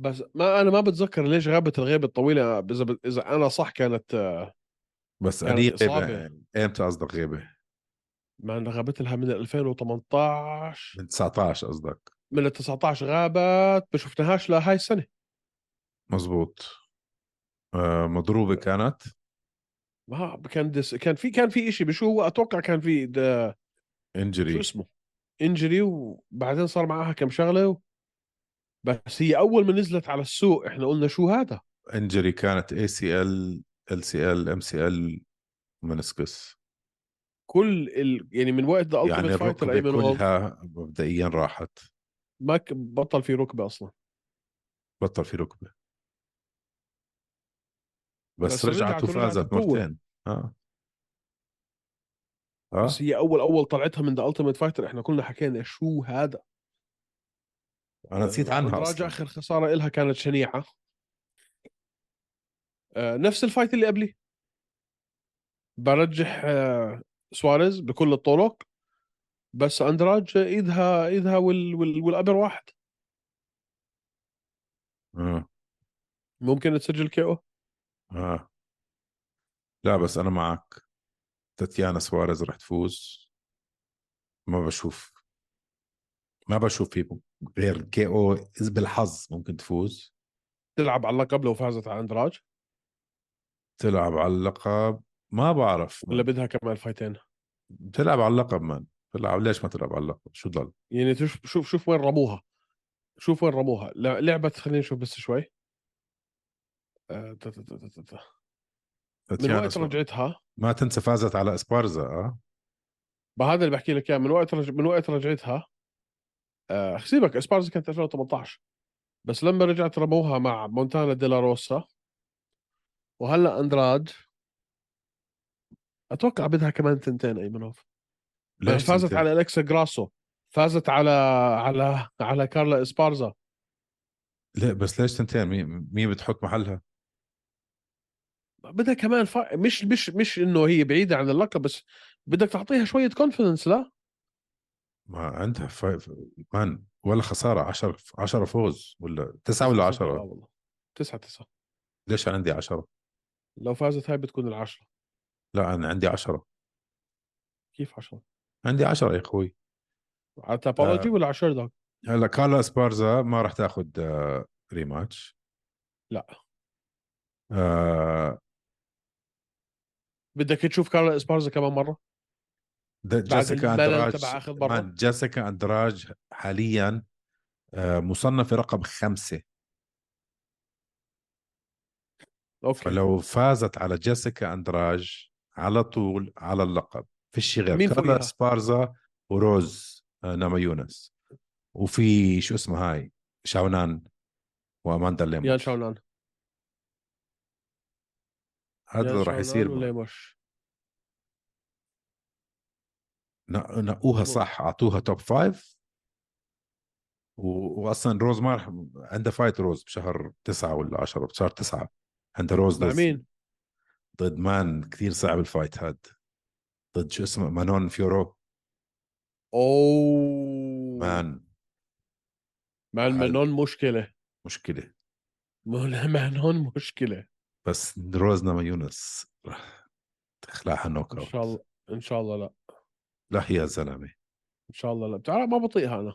Speaker 1: بس ما انا ما بتذكر ليش غابت الغيبه الطويله اذا ب... اذا انا صح كانت آه،
Speaker 2: بس
Speaker 1: كانت
Speaker 2: اني غيبه
Speaker 1: إصابة.
Speaker 2: يعني. امتى قصدك غيبه؟
Speaker 1: ما أنا غابت لها من 2018
Speaker 2: من 19 قصدك
Speaker 1: من ال 19 غابت ما شفناهاش لهاي السنه
Speaker 2: مزبوط آه مضروبه كانت
Speaker 1: ما كان دس كان في كان في شيء بشو هو اتوقع كان في د- شو
Speaker 2: انجري
Speaker 1: اسمه انجري وبعدين صار معاها كم شغله و... بس هي اول ما نزلت على السوق احنا قلنا شو هذا
Speaker 2: انجري كانت اي سي ال ال سي ال ام سي ال منسكس
Speaker 1: كل ال... يعني من وقت ذا
Speaker 2: يعني
Speaker 1: التيمت فايتر
Speaker 2: الركبه
Speaker 1: ايمن وولف
Speaker 2: كلها مبدئيا راحت
Speaker 1: ما ك- بطل في ركبه اصلا
Speaker 2: بطل في ركبه بس,
Speaker 1: بس
Speaker 2: رجعت,
Speaker 1: رجعت ورجعت
Speaker 2: وفازت
Speaker 1: بقوة.
Speaker 2: مرتين اه اه
Speaker 1: بس هي اول اول طلعتها من ذا التيمت فايتر احنا كلنا حكينا شو هذا
Speaker 2: انا نسيت عنها
Speaker 1: راجع
Speaker 2: اصلا
Speaker 1: اخر خساره لها كانت شنيعه آه، نفس الفايت اللي قبليه برجح آه، سواريز بكل الطرق بس اندراج ايدها ايدها وال وال والابر واحد
Speaker 2: آه.
Speaker 1: ممكن تسجل كي او
Speaker 2: آه. لا بس انا معك تاتيانا سواريز رح تفوز ما بشوف ما بشوف في غير كي او إذ بالحظ ممكن تفوز
Speaker 1: تلعب على اللقب لو فازت على اندراج
Speaker 2: تلعب على اللقب ما بعرف
Speaker 1: ولا بدها كمان فايتين
Speaker 2: بتلعب على اللقب من تلعب ليش ما تلعب على اللقب شو ضل
Speaker 1: يعني شوف شوف شوف وين رموها شوف وين رموها ل- لعبت خلينا نشوف بس شوي آه، تا- تا- تا- تا- تا- تا. من
Speaker 2: تاتيانا
Speaker 1: وقت
Speaker 2: سواريز.
Speaker 1: رجعتها
Speaker 2: ما تنسى فازت على اسبارزا اه
Speaker 1: بهذا اللي بحكي لك اياه من وقت رج... من وقت رجعتها آه، سيبك اسبارز كانت 2018 بس لما رجعت رموها مع مونتانا ديلا روسا وهلا اندراج اتوقع بدها كمان تنتين ايمنوف
Speaker 2: ليش
Speaker 1: فازت
Speaker 2: تنسى؟
Speaker 1: على الكسا جراسو فازت على على على كارلا اسبارزا
Speaker 2: لا بس ليش تنتين مين مين بتحط محلها
Speaker 1: بدها كمان فا... مش مش مش انه هي بعيده عن اللقب بس بدك تعطيها شويه كونفدنس لا
Speaker 2: ما عندها فايف مان ولا خساره 10 10 فوز ولا 9 ولا
Speaker 1: آه
Speaker 2: 10
Speaker 1: والله 9 9
Speaker 2: ليش عندي 10
Speaker 1: لو فازت هاي بتكون العشرة
Speaker 2: لا انا عندي 10
Speaker 1: كيف 10
Speaker 2: عندي 10 يا اخوي آه.
Speaker 1: على تابولوجي ولا على شيردوك
Speaker 2: هلا كارلا اسبارزا ما راح تاخذ ريماتش
Speaker 1: لا
Speaker 2: آه
Speaker 1: بدك تشوف كارلا اسبارزا كمان مره
Speaker 2: د-
Speaker 1: بعد
Speaker 2: جيسيكا
Speaker 1: الملل
Speaker 2: اندراج
Speaker 1: تبع آخر مرة.
Speaker 2: مان جيسيكا اندراج حاليا آه مصنفه رقم خمسه
Speaker 1: اوكي
Speaker 2: فلو فازت على جيسيكا اندراج على طول على اللقب فيش غير
Speaker 1: مين فوقيها؟
Speaker 2: كارلا سبارزا وروز آه، نامايونس وفي شو اسمها هاي شاونان واماندا
Speaker 1: يان
Speaker 2: ليمون
Speaker 1: شاونان
Speaker 2: هذا اللي
Speaker 1: يان
Speaker 2: راح
Speaker 1: شاونان
Speaker 2: يصير
Speaker 1: ولا
Speaker 2: معه.
Speaker 1: مش
Speaker 2: نق- نقوها
Speaker 1: مظبوط.
Speaker 2: صح اعطوها توب فايف و... واصلا روز ما رح عندها فايت روز بشهر تسعة ولا عشرة بشهر تسعة عندها روز
Speaker 1: مع
Speaker 2: لسه.
Speaker 1: مين؟
Speaker 2: ضد مان كثير صعب الفايت هاد ضد شو اسمه مانون فيورو
Speaker 1: اوه
Speaker 2: مان
Speaker 1: مان
Speaker 2: هل-
Speaker 1: منون مشكله
Speaker 2: مشكلة
Speaker 1: مان- منون مشكله
Speaker 2: بس روز نما يونس رح تخلعها نوك
Speaker 1: ان
Speaker 2: اوت
Speaker 1: شاء الله ان شاء الله لا
Speaker 2: لا يا زلمة
Speaker 1: ان شاء الله لا بتعرف ما بطيقها انا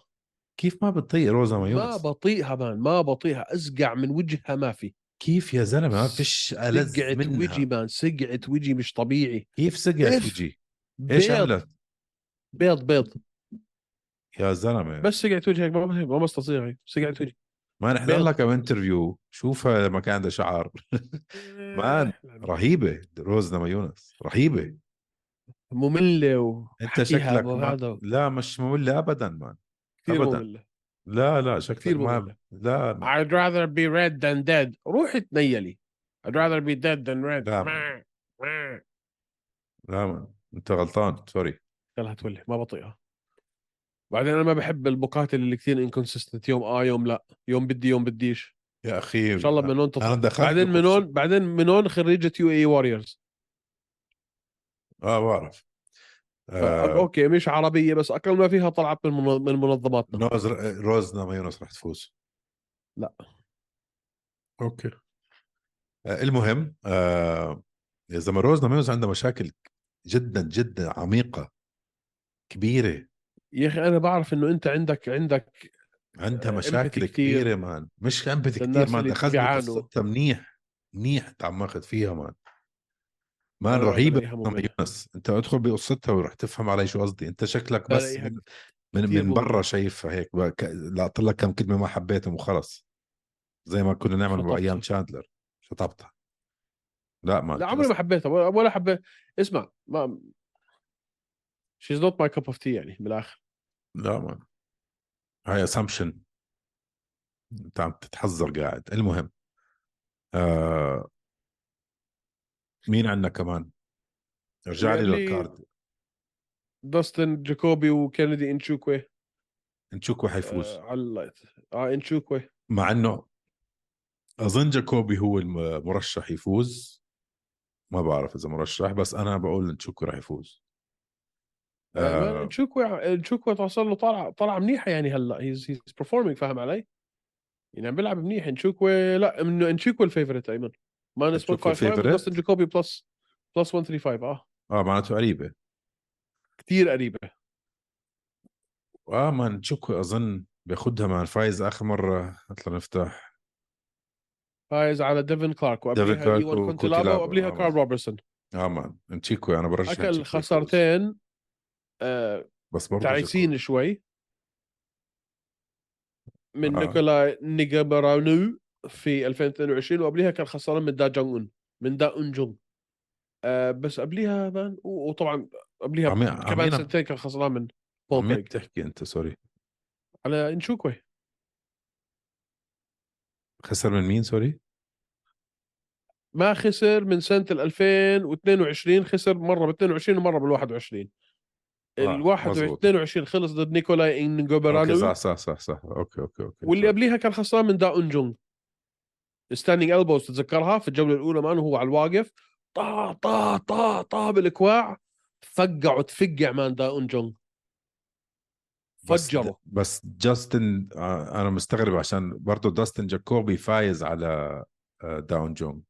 Speaker 2: كيف ما بتطيق روزا
Speaker 1: ما
Speaker 2: مايونيز
Speaker 1: بطيقها مان ما بطيقها ازقع من وجهها ما في
Speaker 2: كيف يا زلمه ما فيش
Speaker 1: سقعت
Speaker 2: الذ
Speaker 1: وجهي
Speaker 2: منها
Speaker 1: مان سقعت وجهي مش طبيعي
Speaker 2: كيف سقعت
Speaker 1: إف.
Speaker 2: وجهي
Speaker 1: بيض
Speaker 2: ايش عملت
Speaker 1: بيض بيض
Speaker 2: يا زلمه
Speaker 1: بس سقعت وجهك ما ما بستطيع هيك سقعت وجهي
Speaker 2: ما نحضر
Speaker 1: بيض.
Speaker 2: لك انترفيو شوفها لما كان عندها شعر مان، رهيبه روزنا مايونس رهيبه
Speaker 1: مملة و
Speaker 2: انت
Speaker 1: حكيها
Speaker 2: شكلك
Speaker 1: أبو
Speaker 2: ما...
Speaker 1: هذا.
Speaker 2: لا مش ممله ابدا مان
Speaker 1: كثير
Speaker 2: أبداً.
Speaker 1: مملة
Speaker 2: لا لا شكلك
Speaker 1: كثير
Speaker 2: ما
Speaker 1: مملة
Speaker 2: لا ما.
Speaker 1: I'd rather be red than dead روحي تنيلي I'd rather be dead than red
Speaker 2: لا.
Speaker 1: ما- ما.
Speaker 2: لا مان. انت غلطان سوري
Speaker 1: يلا تولي ما بطيئها بعدين انا ما بحب البقاتل اللي كثير انكونسستنت يوم اه يوم لا يوم بدي يوم بديش
Speaker 2: يا اخي
Speaker 1: ان شاء الله من هون تطلع
Speaker 2: انا دخلت
Speaker 1: بعدين من
Speaker 2: بكورس.
Speaker 1: هون بعدين من هون خريجه يو اي واريورز
Speaker 2: اه بعرف آه
Speaker 1: اوكي أه، مش عربيه بس اقل ما فيها طلعت من منظ- من منظماتنا
Speaker 2: روز روزنا مايونس رح تفوز
Speaker 1: لا.
Speaker 2: اوكي آه المهم آه يا زلمه روزنا مايونس عندها مشاكل جدا جدا عميقه كبيره
Speaker 1: يا اخي انا بعرف انه انت عندك عندك
Speaker 2: عندها
Speaker 1: آه، empathy
Speaker 2: مشاكل
Speaker 1: كتير.
Speaker 2: كبيره مان مش امبثي كثير
Speaker 1: للناس
Speaker 2: مان
Speaker 1: اللي
Speaker 2: دخلت
Speaker 1: بيعانوا.
Speaker 2: بقصتها منيح منيح تعمقت فيها مان مان
Speaker 1: أنا
Speaker 2: رهيبه
Speaker 1: بلاقيها
Speaker 2: روزنا
Speaker 1: مملة.
Speaker 2: مايونس انت ادخل بقصتها ورح تفهم علي شو قصدي انت شكلك بس
Speaker 1: بلاقيها
Speaker 2: من من,
Speaker 1: كتير
Speaker 2: من برا
Speaker 1: مملة.
Speaker 2: شايفها هيك بقى ك- لقط لك كم كلمه ما حبيتهم وخلص زي ما كنا نعمل
Speaker 1: شطبتها.
Speaker 2: بايام شاندلر شطبتها لا ما
Speaker 1: لا عمري ما حبيتها ولا- ولا حبيت اسمع ما شيز نوت ماي كاب اوف تي يعني بالاخر
Speaker 2: لا ما هاي اسامبشن انت عم تتحذر قاعد المهم آه... مين عندنا كمان ارجع لي
Speaker 1: اللي-
Speaker 2: للكارد
Speaker 1: داستن جاكوبي وكينيدي انشوكوي
Speaker 2: نشوكو حيفوز
Speaker 1: آه على اللايت اه انشوكوي
Speaker 2: مع انه اظن جاكوبي هو المرشح يفوز ما بعرف اذا مرشح بس انا بقول نشوكو راح يفوز آه،
Speaker 1: تشوكوا تشوكوا توصل له طالعه طالعه منيحه يعني هلا هيز هيز برفورمينج فاهم علي؟ يعني عم بيلعب منيح انشوكوا لا انه انشوكوا الفيفورت ايمن ماينس
Speaker 2: إنشوكوا
Speaker 1: 155
Speaker 2: الفيفورت؟
Speaker 1: وداستن جاكوبي بلس بلس 135 اه
Speaker 2: اه معناته قريبه
Speaker 1: كثير قريبه
Speaker 2: اه ما نشوكو اظن بياخدها مع الفايز اخر مره هاتلا نفتح
Speaker 1: فايز على ديفن كلارك
Speaker 2: ديفن
Speaker 1: وقبليها
Speaker 2: كلارك
Speaker 1: ايوان
Speaker 2: وكوتي
Speaker 1: كونتيلابا
Speaker 2: لابا.
Speaker 1: وقبليها
Speaker 2: آه،
Speaker 1: كارل روبرتسون
Speaker 2: اه ما نشيكو انا برشح نشيكو
Speaker 1: اكل
Speaker 2: يفوز.
Speaker 1: خسارتين آه،
Speaker 2: بس برضه
Speaker 1: تعيسين شوي من
Speaker 2: آه.
Speaker 1: نيكولا نيجابرانو في 2022 وقبليها كان خسران من دا جونغ اون من دا اون جونغ آه بس قبليها مان و- وطبعا قبليها
Speaker 2: عمي-
Speaker 1: كمان
Speaker 2: عمينا-
Speaker 1: سنتين كان خسران من بول
Speaker 2: عم
Speaker 1: بريك
Speaker 2: تحكي انت سوري
Speaker 1: على انشوكوي
Speaker 2: خسر من مين سوري
Speaker 1: ما خسر من سنه ال 2022 خسر مره ب 22 ومره بال 21
Speaker 2: آه،
Speaker 1: ال 21
Speaker 2: مزبوط.
Speaker 1: 22 خلص ضد نيكولاي
Speaker 2: اوكي صح
Speaker 1: انجوبرانو
Speaker 2: صح صح صح اوكي اوكي اوكي
Speaker 1: واللي قبليها كان خسران من دا اون جونغ ستاندينج البوز تتذكرها في الجوله الاولى مان وهو على الواقف طا طا طا طا بالكواع فقع وتفقع مان دا اون جونغ
Speaker 2: بس-
Speaker 1: فجره
Speaker 2: بس جاستن آه، انا مستغرب عشان برضه داستن جاكوبي فايز على آه، داون جونج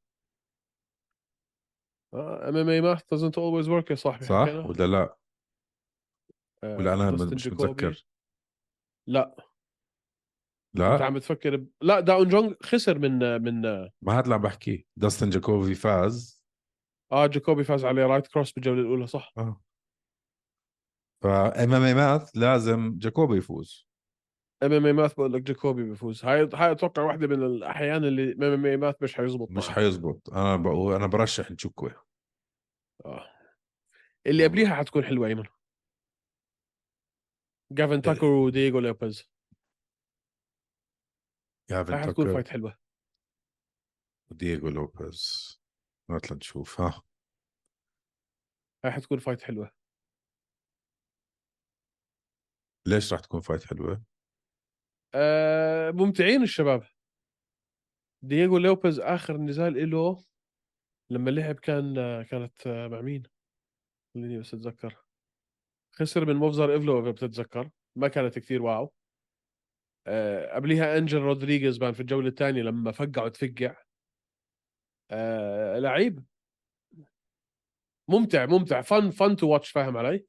Speaker 1: ام ام اي ماث آه، doesn't always work يا صاحبي
Speaker 2: صح
Speaker 1: حكينا.
Speaker 2: ولا لا
Speaker 1: آه،
Speaker 2: ولا انا
Speaker 1: داستن
Speaker 2: مش
Speaker 1: جاكوبي.
Speaker 2: متذكر
Speaker 1: لا انت
Speaker 2: لا
Speaker 1: عم بتفكر ب... لا داون جونغ خسر من من
Speaker 2: ما هذا اللي عم بحكي داستن جاكوبي فاز
Speaker 1: اه جاكوبي فاز عليه رايت كروس بالجوله الاولى صح
Speaker 2: اه فام ام ماث لازم جاكوبي يفوز
Speaker 1: ام ام اي ماث بقول لك جاكوبي بيفوز هاي هاي اتوقع واحده من الاحيان اللي ام ام اي ماث مش حيزبط
Speaker 2: مش
Speaker 1: معها.
Speaker 2: حيزبط انا بقول انا برشح نشوكوي
Speaker 1: آه. اللي قبليها حتكون حلوه ايمن جافن تاكر ودييغو لوبيز هاي
Speaker 2: جافن
Speaker 1: حتكون
Speaker 2: تاكر
Speaker 1: فايت حلوه
Speaker 2: ودييغو لوبيز هات لنشوف ها
Speaker 1: هاي حتكون فايت حلوه
Speaker 2: ليش راح تكون فايت حلوه؟
Speaker 1: آه ممتعين الشباب دييغو لوبيز اخر نزال له لما لعب كان كانت آه، مع مين؟ خليني بس اتذكر خسر من مفزر ايفلو اذا بتتذكر ما كانت كثير واو آه قبليها انجل رودريغيز بان في الجوله الثانيه لما فقع وتفقع آه لعيب ممتع ممتع فن فن تو واتش فاهم علي؟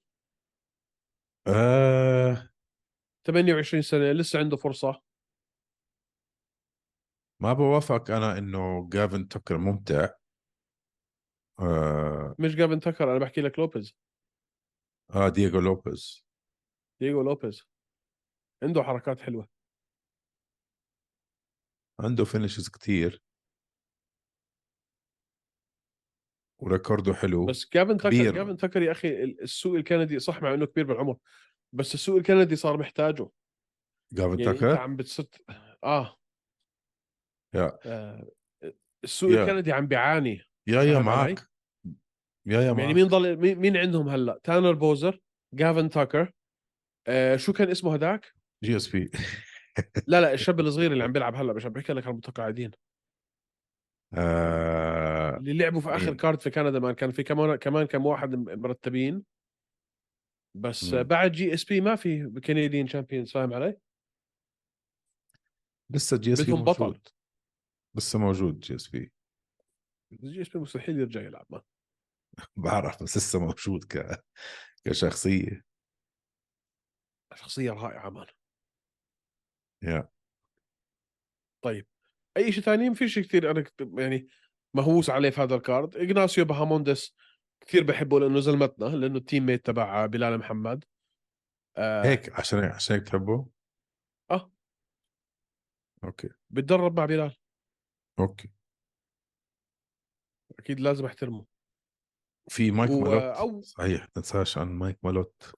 Speaker 2: آه
Speaker 1: 28 سنه لسه عنده فرصه
Speaker 2: ما بوافق انا انه جافن تكر ممتع آه,
Speaker 1: مش جافن تكر انا بحكي لك لوبيز
Speaker 2: اه دييغو لوبيز
Speaker 1: دييغو لوبيز عنده حركات حلوه
Speaker 2: عنده فينشز كتير وريكوردو حلو
Speaker 1: بس جافن تكر
Speaker 2: كبير.
Speaker 1: جافن تكر يا اخي ال- السوق الكندي صح مع انه كبير بالعمر بس السوق الكندي صار محتاجه
Speaker 2: جافن
Speaker 1: يعني انت
Speaker 2: تكر
Speaker 1: عم بتست اه
Speaker 2: يا.
Speaker 1: آه، السوق
Speaker 2: يا.
Speaker 1: الكندي عم بيعاني
Speaker 2: يا يا
Speaker 1: فاهم علي؟
Speaker 2: معك يا يا
Speaker 1: يعني
Speaker 2: معك
Speaker 1: مين ضل مين- مين عندهم هلا تانر بوزر جافن تاكر آه شو كان اسمه هداك
Speaker 2: جي اس بي
Speaker 1: لا لا الشاب الصغير اللي عم بيلعب هلا مش عم بحكي لك عن المتقاعدين
Speaker 2: آه
Speaker 1: اللي لعبوا في اخر
Speaker 2: مين؟
Speaker 1: كارد في كندا ما كان في كمان كمان كم واحد م- مرتبين بس
Speaker 2: مم.
Speaker 1: آه، بعد جي اس بي ما في كنديين شامبيونز فاهم علي؟
Speaker 2: لسه جي اس بي
Speaker 1: بدهم بطل.
Speaker 2: موجود لسه موجود جي اس بي
Speaker 1: جي اس بي مستحيل يرجع يلعب ما.
Speaker 2: بعرف بس لسه موجود ك... كشخصيه
Speaker 1: شخصيه رائعه مان
Speaker 2: يا.
Speaker 1: طيب اي شيء ثاني ما في شيء كثير انا كت- يعني مهووس عليه في هذا الكارد اغناسيو بهاموندس كثير بحبه لانه زلمتنا لانه التيم ميت تبع بلال محمد آه
Speaker 2: هيك عشان عشان هيك بتحبه؟
Speaker 1: آه.
Speaker 2: اوكي
Speaker 1: بتدرب مع بلال
Speaker 2: اوكي
Speaker 1: اكيد لازم احترمه
Speaker 2: في مايك
Speaker 1: و-
Speaker 2: مالوت
Speaker 1: أو-
Speaker 2: صحيح ما تنساش عن مايك مالوت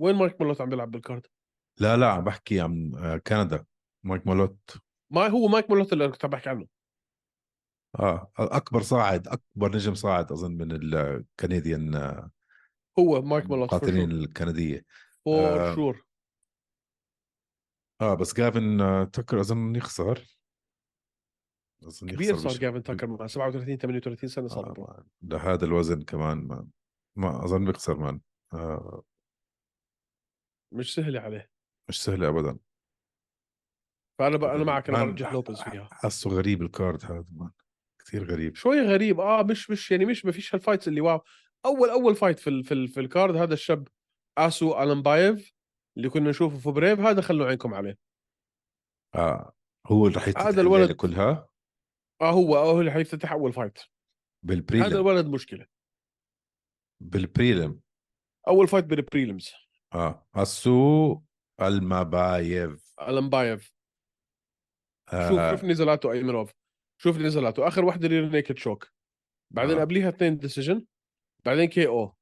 Speaker 1: وين مايك مولوت عم بيلعب بالكارد
Speaker 2: لا لا عم بحكي عن آه، كندا مايك مالوت
Speaker 1: ما هو مايك مولوت اللي كنت عم بحكي عنه
Speaker 2: اه اكبر صاعد اكبر نجم صاعد اظن من آه، الكنديان
Speaker 1: هو مايك مولوت
Speaker 2: المقاتلين الكنديه
Speaker 1: فور
Speaker 2: آه،
Speaker 1: شور
Speaker 2: اه بس جافن آه، تكر اظن يخسر اظن
Speaker 1: كبير صار
Speaker 2: بش-
Speaker 1: جافن تاكر مع 37 38 سنه صار
Speaker 2: آه،
Speaker 1: برو.
Speaker 2: مان. لهذا الوزن كمان ما, ما اظن بيخسر مان آه
Speaker 1: مش سهله عليه
Speaker 2: مش سهله ابدا
Speaker 1: فانا ب...
Speaker 2: آه،
Speaker 1: انا معك انا
Speaker 2: مان،
Speaker 1: برجح لوبيز فيها
Speaker 2: حاسه غريب الكارد هذا مان كثير غريب
Speaker 1: شوي غريب اه مش مش يعني مش ما فيش هالفايتس اللي واو اول اول فايت في ال... في, ال... في الكارد هذا الشاب اسو الانبايف اللي كنا نشوفه في بريف هذا خلوا عينكم عليه
Speaker 2: اه هو اللي رح
Speaker 1: هذا
Speaker 2: يتحمل
Speaker 1: الولد-
Speaker 2: الليلة كلها
Speaker 1: اه هو هو اللي حيفتتح اول فايت هذا
Speaker 2: بالبريلم
Speaker 1: الولد مشكله
Speaker 2: بالبريلم
Speaker 1: اول فايت بالبريلمز
Speaker 2: اه اسو المبايف
Speaker 1: الانبايف شوف
Speaker 2: آه
Speaker 1: شوف نزلاته ايمنوف شوف نزلاته اخر واحده رير نيكد شوك بعدين
Speaker 2: آه.
Speaker 1: آه. قبليها اثنين ديسيجن بعدين كي او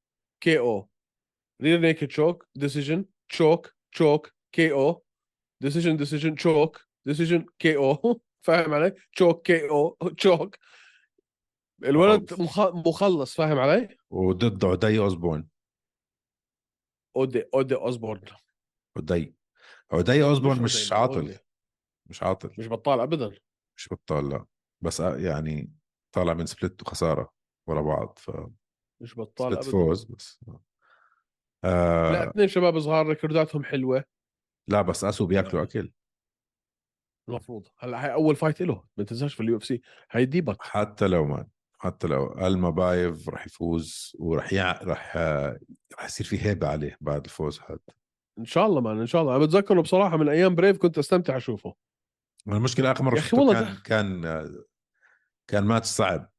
Speaker 1: كي او رير نيكد شوك ديسيجن شوك شوك كي او ديسيجن ديسيجن شوك ديسيجن كي او فاهم علي؟ شوك كي او شوك الولد
Speaker 2: مخلص.
Speaker 1: مخ- مخلص فاهم علي؟
Speaker 2: وضد عدي اوزبورن
Speaker 1: اودي اودي اوزبورن
Speaker 2: عدي عدي
Speaker 1: مش
Speaker 2: اوزبورن مش,
Speaker 1: عدي،
Speaker 2: عاطل
Speaker 1: أودي.
Speaker 2: مش عاطل
Speaker 1: مش بطال ابدا
Speaker 2: مش بطال لا بس آه، يعني طالع من سبلت وخساره ورا بعض ف
Speaker 1: مش بطال
Speaker 2: سبلت
Speaker 1: ابدا
Speaker 2: فوز بس آه
Speaker 1: لا
Speaker 2: لا.
Speaker 1: اثنين شباب صغار ريكورداتهم حلوه
Speaker 2: لا بس اسو
Speaker 1: نعم.
Speaker 2: بياكلوا اكل
Speaker 1: المفروض هلا هاي اول فايت له ما تنساش في اليو اف سي هاي ديبك
Speaker 2: حتى لو ما حتى لو المبايف رح يفوز ورح يع... رح آه، رح يصير في هيبه عليه بعد الفوز هذا
Speaker 1: ان شاء الله مان ان شاء الله انا بتذكره بصراحه من ايام بريف كنت استمتع اشوفه
Speaker 2: المشكلة آخر مرة
Speaker 1: يا أخي
Speaker 2: شفته
Speaker 1: والله
Speaker 2: كان كان كان ماتش صعب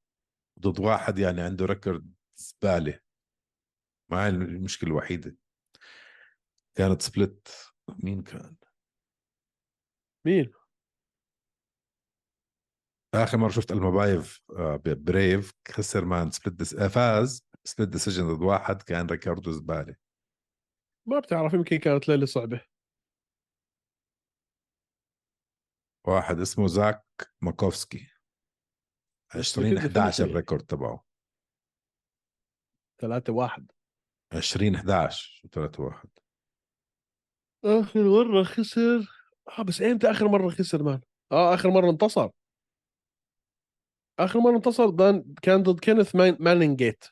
Speaker 2: ضد واحد يعني عنده ريكورد زبالة ما هي المشكلة الوحيدة كانت سبلت مين كان؟
Speaker 1: مين
Speaker 2: آخر مرة شفت المبايف آه، ب- بريف خسر مان سبلت دس... آه، فاز سبلت ديسيجن ضد واحد كان ريكورده زبالة
Speaker 1: ما بتعرف يمكن كانت ليله صعبه
Speaker 2: واحد اسمه زاك ماكوفسكي 20
Speaker 1: كده
Speaker 2: 11
Speaker 1: finisher.
Speaker 2: الريكورد تبعه
Speaker 1: 3 1
Speaker 2: 20 11 3 1
Speaker 1: اخر مره خسر اه بس امتى اخر مره خسر مان اه اخر مره انتصر اخر مره انتصر مان كان ضد كينيث مان... مانينجيت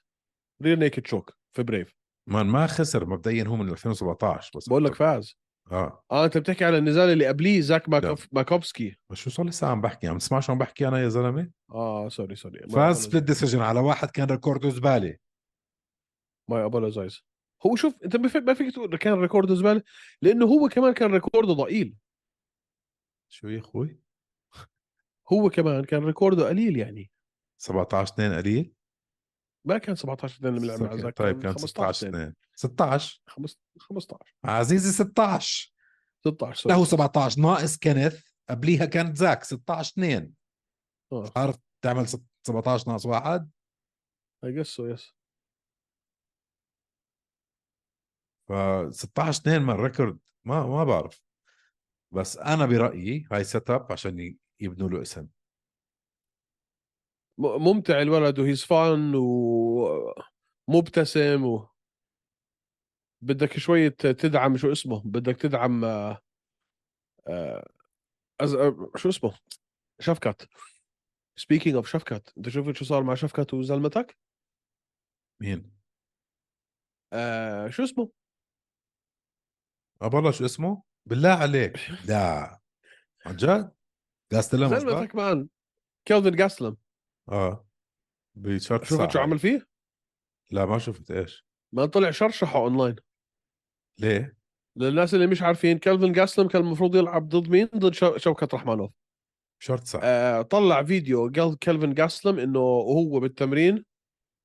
Speaker 1: رير نيكد شوك في بريف
Speaker 2: مان ما خسر مبدئيا هو من 2017 بس
Speaker 1: بقول لك فاز
Speaker 2: اه
Speaker 1: اه انت بتحكي على النزال اللي قبليه زاك ماكوف... ماكوفسكي
Speaker 2: بس شو صار لي ساعة عم بحكي عم تسمع شو عم بحكي انا يا زلمة؟
Speaker 1: اه سوري سوري
Speaker 2: فاز سبليت ديسيجن على واحد كان ريكورده زبالة
Speaker 1: ماي ابولوجايز هو شوف انت ما في- ما فيك تقول كان ريكورده زباله لانه هو كمان كان ريكورده ضئيل
Speaker 2: شو يا اخوي
Speaker 1: هو كمان كان ريكورده قليل يعني
Speaker 2: 17 2 قليل
Speaker 1: ما كان 17 2 اللي بنلعب مع
Speaker 2: أوكي،
Speaker 1: زاك
Speaker 2: طيب كان 16
Speaker 1: 2
Speaker 2: 2 16
Speaker 1: 15
Speaker 2: عزيزي 16
Speaker 1: 16
Speaker 2: لا
Speaker 1: سوري.
Speaker 2: هو 17 ناقص كينيث قبليها كانت زاك 16 2
Speaker 1: اه
Speaker 2: عارف تعمل ست- 17 ناقص واحد
Speaker 1: اي جس سو يس
Speaker 2: ف 16 2 من ريكورد ما ما بعرف بس انا برايي هاي سيت اب عشان ي- يبنوا له اسم
Speaker 1: م- ممتع الولد وهيز فان ومبتسم و بدك شوية تدعم شو اسمه بدك تدعم آه، آه، أز... آه، شو اسمه شفكت سبيكينج اوف شفكت انت شفت شو صار مع شفكت وزلمتك
Speaker 2: مين؟
Speaker 1: آه شو اسمه
Speaker 2: اه والله شو اسمه؟ بالله عليك لا عن جد؟ جاستلم قصدك؟
Speaker 1: زلمتك مان كيلفن جاسلم
Speaker 2: اه بشرط
Speaker 1: شفت شو
Speaker 2: ساعة.
Speaker 1: عمل فيه
Speaker 2: لا ما شفت ايش
Speaker 1: ما طلع شرشحه اونلاين
Speaker 2: ليه؟
Speaker 1: للناس اللي مش عارفين كيلفن جاسلم كان المفروض يلعب ضد مين ضد شو- شوكت رحمانوف
Speaker 2: شرط ساعة
Speaker 1: آه، طلع فيديو قال كلفن جاسلم انه وهو بالتمرين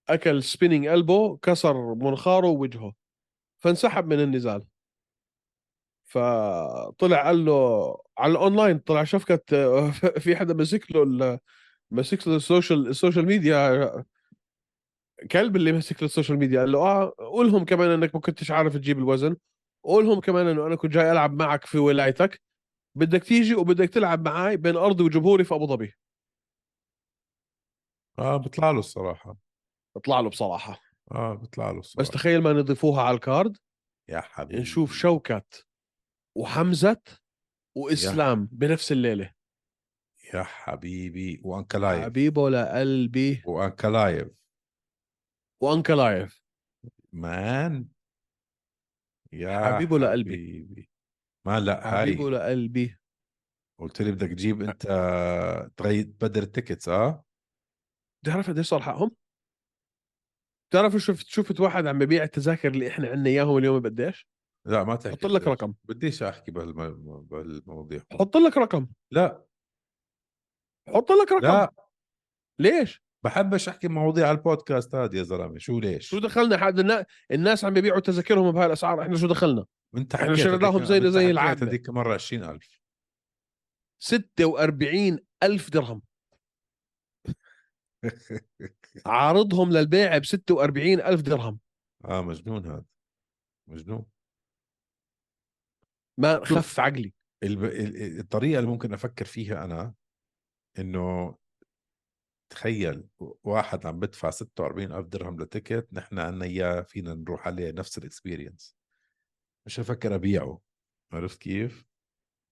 Speaker 1: اكل سبيننج البو كسر منخاره ووجهه فانسحب من النزال فطلع قال له على الاونلاين طلع شفكت آه، في حدا مسك له ال- مسك له السوشيال السوشيال ميديا كلب اللي مسك له السوشيال ميديا قال له اه قول لهم كمان انك ما كنتش عارف تجيب الوزن قول لهم كمان انه انا كنت جاي العب معك في ولايتك بدك تيجي وبدك تلعب معاي بين ارضي وجمهوري في ابو ظبي
Speaker 2: اه بيطلع له الصراحة
Speaker 1: اطلع له بصراحه
Speaker 2: اه بيطلع له
Speaker 1: بس
Speaker 2: الصراحة
Speaker 1: تخيل ما نضيفوها على الكارد
Speaker 2: يا حبيبي
Speaker 1: نشوف شوكت وحمزه واسلام بنفس الليله
Speaker 2: يا حبيبي وانكلايف
Speaker 1: حبيبه لقلبي
Speaker 2: وانكلايف
Speaker 1: وانكلايف
Speaker 2: مان يا
Speaker 1: حبيبه لقلبي.
Speaker 2: آه، حبيبي. ما لا هاي
Speaker 1: حبيبه لقلبي
Speaker 2: قلت لي بدك تجيب انت تغير تبدل التيكتس اه
Speaker 1: بتعرف قديش صار حقهم؟ بتعرف شفت شفت واحد عم ببيع التذاكر اللي احنا عندنا اياهم اليوم بقديش؟
Speaker 2: لا ما تحكي
Speaker 1: حط لك
Speaker 2: بديش-
Speaker 1: رقم
Speaker 2: بديش احكي بهالم- بهالمواضيع
Speaker 1: حط لك رقم
Speaker 2: لا
Speaker 1: حط لك رقم
Speaker 2: لا
Speaker 1: ليش؟
Speaker 2: بحبش احكي مواضيع على البودكاست هذا يا زلمه شو ليش
Speaker 1: شو دخلنا حد النا- الناس عم بيبيعوا تذاكرهم بهالاسعار احنا شو دخلنا؟
Speaker 2: انت
Speaker 1: إحنا
Speaker 2: حكيت
Speaker 1: شريناهم
Speaker 2: هذيك-
Speaker 1: زي-
Speaker 2: أنت
Speaker 1: زي
Speaker 2: حكيت
Speaker 1: العامة.
Speaker 2: هذيك مره 20000
Speaker 1: 46 ألف درهم عارضهم للبيع ب 46 ألف درهم
Speaker 2: اه مجنون هذا مجنون
Speaker 1: ما خف عقلي
Speaker 2: الب... ال- ال- الطريقه اللي ممكن افكر فيها انا انه تخيل واحد عم بدفع 46 الف درهم لتيكت نحن عنا اياه فينا نروح عليه نفس الاكسبيرينس مش هفكر ابيعه عرفت كيف؟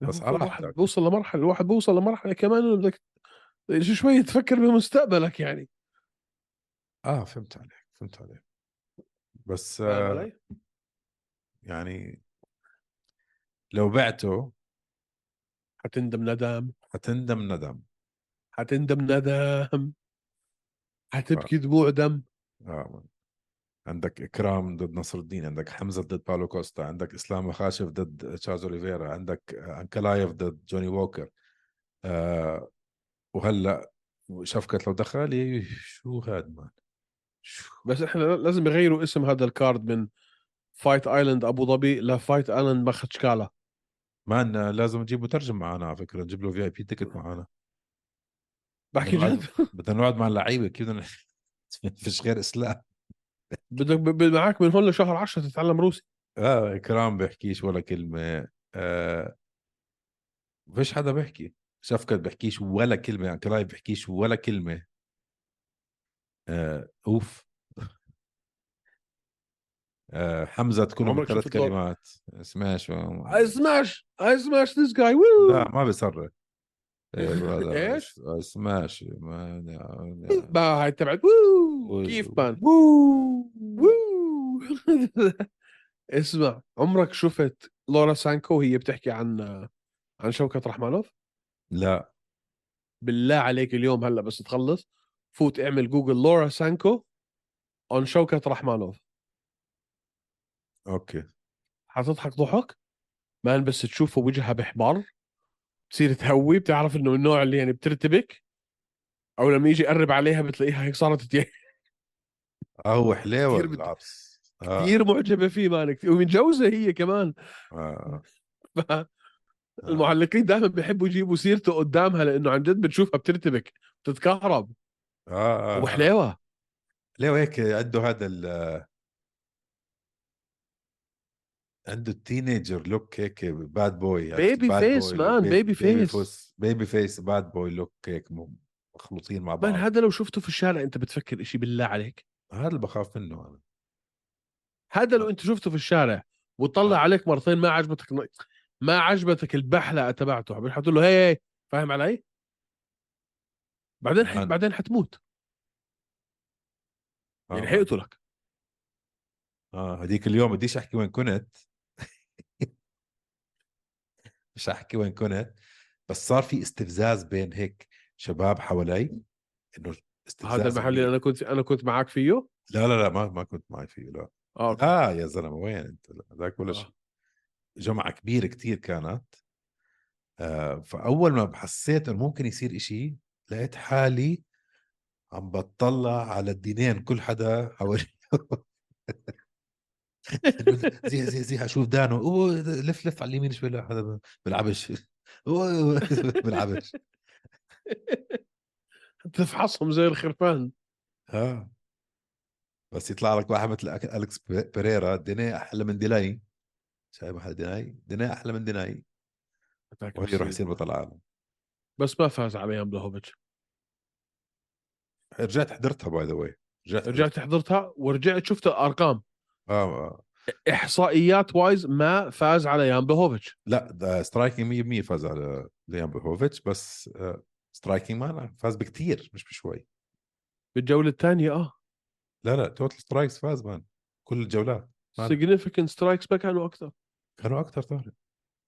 Speaker 2: بس على
Speaker 1: الواحد
Speaker 2: راحتك.
Speaker 1: بوصل لمرحلة الواحد بوصل لمرحلة كمان إنه بدك شو شوي تفكر بمستقبلك يعني
Speaker 2: اه فهمت عليك فهمت عليك بس
Speaker 1: فاهم
Speaker 2: آه
Speaker 1: علي؟
Speaker 2: يعني لو بعته
Speaker 1: حتندم ندم
Speaker 2: حتندم ندم
Speaker 1: حتندم ندم حتبكي دموع دم
Speaker 2: آه. عندك اكرام ضد نصر الدين عندك حمزه ضد بالو كوستا عندك اسلام مخاشف ضد تشارلز اوليفيرا عندك انكلايف ضد جوني ووكر آه وهلا شفكت لو دخل إيه، شو هاد مان شو
Speaker 1: بس احنا لازم يغيروا اسم هذا الكارد من فايت ايلاند ابو ظبي لفايت ايلاند مخشكالا
Speaker 2: مان آه، لازم نجيب مترجم معنا على فكره نجيب له في اي بي تيكت معنا
Speaker 1: بحكي
Speaker 2: والله.
Speaker 1: جد
Speaker 2: بدنا نقعد مع اللعيبه كيف بدنا فيش غير اسلام
Speaker 1: بدك ب- ب- معك من هون لشهر 10 تتعلم روسي
Speaker 2: اه اكرام بيحكيش ولا كلمه آه فيش حدا بيحكي شفكت بيحكيش ولا كلمه انكلايف بيحكيش ولا كلمه آه اوف آه حمزه تكون
Speaker 1: عمرك
Speaker 2: ثلاث
Speaker 1: شفت دور؟
Speaker 2: كلمات سماش
Speaker 1: I smash I smash this guy Woo!
Speaker 2: لا ما بيصرخ إيه،
Speaker 1: إيش؟
Speaker 2: سماش يعني،
Speaker 1: ما هاي تبعت وو
Speaker 2: وز-
Speaker 1: كيف بان
Speaker 2: وو
Speaker 1: وو اسمع عمرك شفت لورا سانكو هي بتحكي عن عن شوكة رحمانوف
Speaker 2: لا
Speaker 1: بالله عليك اليوم هلا بس تخلص فوت اعمل جوجل لورا سانكو اون شوكة رحمانوف
Speaker 2: اوكي
Speaker 1: حتضحك ضحك مان بس تشوفه وجهها بحمر بتصير تهوي بتعرف انه النوع اللي يعني بترتبك او لما يجي يقرب عليها بتلاقيها هيك صارت تتي-
Speaker 2: آه، هو حلاوه
Speaker 1: كتير بت-
Speaker 2: بالعطس آه.
Speaker 1: كثير معجبه فيه مان كتير- ومتجوزه هي كمان
Speaker 2: آه.
Speaker 1: ف- المعلقين دائما بيحبوا يجيبوا سيرته قدامها لانه عن جد بتشوفها بترتبك بتتكهرب
Speaker 2: اه اه
Speaker 1: وحلاوه
Speaker 2: ليه هيك عنده هذا ال عنده التينيجر لوك هيك باد بوي
Speaker 1: Baby face، man، baby face.
Speaker 2: بيبي فيس باد بوي لوك هيك م- مخلوطين مع
Speaker 1: مان
Speaker 2: بعض
Speaker 1: هذا لو شفته في الشارع انت بتفكر إشي بالله عليك
Speaker 2: هذا اللي بخاف منه انا
Speaker 1: هذا لو انت شفته في الشارع
Speaker 2: آه.
Speaker 1: وطلع عليك مرتين ما عجبتك ن- ما عجبتك البحلقه تبعته عم حتقول له هي هي فاهم علي؟ بعدين ح...
Speaker 2: مان.
Speaker 1: بعدين حتموت
Speaker 2: آه،
Speaker 1: يعني حيقتلك
Speaker 2: اه هذيك اليوم بديش احكي وين كنت مش احكي وين كنت بس صار في استفزاز بين هيك شباب حوالي انه استفزاز
Speaker 1: هذا المحل اللي
Speaker 2: إنه-
Speaker 1: انا كنت انا كنت معك فيه
Speaker 2: لا لا لا ما ما كنت معي فيه لا
Speaker 1: اه
Speaker 2: اه يا زلمه وين انت لا، ذاك ولا
Speaker 1: آه.
Speaker 2: شيء جمعه كبيره كتير كانت آه فاول ما حسيت انه ممكن يصير إشي لقيت حالي عم بطلع على الدينين كل حدا حوالي زي زي زي اشوف دانو اوه لف لف على اليمين شوي لا هذا ب- بلعبش اوه بلعبش
Speaker 1: تفحصهم زي الخرفان
Speaker 2: اه بس يطلع لك واحد مثل أك- الكس بي- بيريرا ديني احلى من ديناي شايف حدا ديناي ديناي احلى من ديناي
Speaker 1: هتاك
Speaker 2: وهي
Speaker 1: بصير.
Speaker 2: يروح يصير بطل عالم
Speaker 1: بس ما فاز عليهم بلهوفيتش
Speaker 2: رجعت حضرتها باي ذا واي رجعت
Speaker 1: رجعت حضرتها ورجعت شفت الارقام
Speaker 2: اه آه.
Speaker 1: احصائيات وايز ما فاز على يان بلهوفيتش
Speaker 2: لا سترايكينج 100% فاز على ليان بوفيتش بس سترايكينج مان فاز بكتير مش بشوي
Speaker 1: بالجوله الثانيه اه
Speaker 2: لا لا توتال سترايكس فاز مان كل الجولات ما أعرف.
Speaker 1: سيجنفكنت سترايكس ما كانوا اكثر
Speaker 2: كانوا اكثر طارق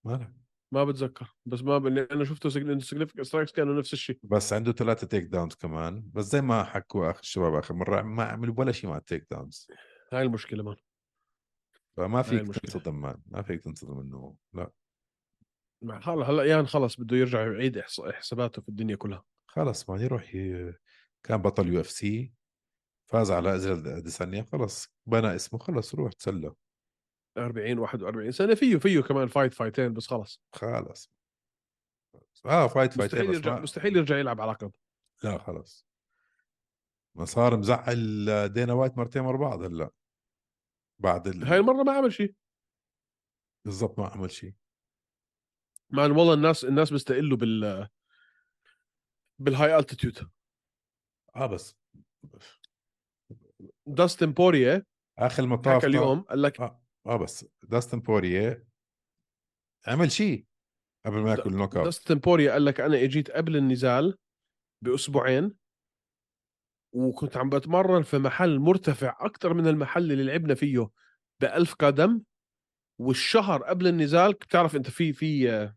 Speaker 2: مالك
Speaker 1: ما بتذكر بس ما ب... اللي انا شفته سيجنفكنت سترايكس كانوا نفس الشيء
Speaker 2: بس عنده ثلاثة تيك داونز كمان بس زي ما حكوا اخر الشباب اخر مرة ما عملوا ولا شيء مع التيك داونز
Speaker 1: هاي المشكله مان
Speaker 2: فما فيك
Speaker 1: المشكلة.
Speaker 2: تنصدم مان ما فيك تنصدم انه لا
Speaker 1: مع هلا هلا يان خلص بده يرجع يعيد إحص- حساباته في الدنيا كلها
Speaker 2: خلص مان يروح ي... كان بطل يو اف سي فاز على اجل اديسانيا خلص بنى اسمه خلص روح تسلى
Speaker 1: 40 41 سنه فيه فيه كمان فايت فايتين بس خلص
Speaker 2: خلص اه فايت فايت
Speaker 1: مستحيل يرجع مستحيل يرجع يلعب على لقب
Speaker 2: لا خلص ما صار مزعل دينا وايت مرتين ورا بعض هلا بعد ال...
Speaker 1: هاي المره ما عمل شيء
Speaker 2: بالضبط ما عمل شيء
Speaker 1: مع إن والله الناس الناس بيستقلوا بال بالهاي التيتيود
Speaker 2: اه بس
Speaker 1: داستن بوريه
Speaker 2: اخر المطاف
Speaker 1: حكى اليوم قال لك
Speaker 2: اه اه بس داستن بوريه عمل شيء قبل ما ياكل النوك اوت
Speaker 1: داستن بوريا قال لك انا اجيت قبل النزال باسبوعين وكنت عم بتمرن في محل مرتفع اكثر من المحل اللي لعبنا فيه بألف قدم والشهر قبل النزال بتعرف انت في في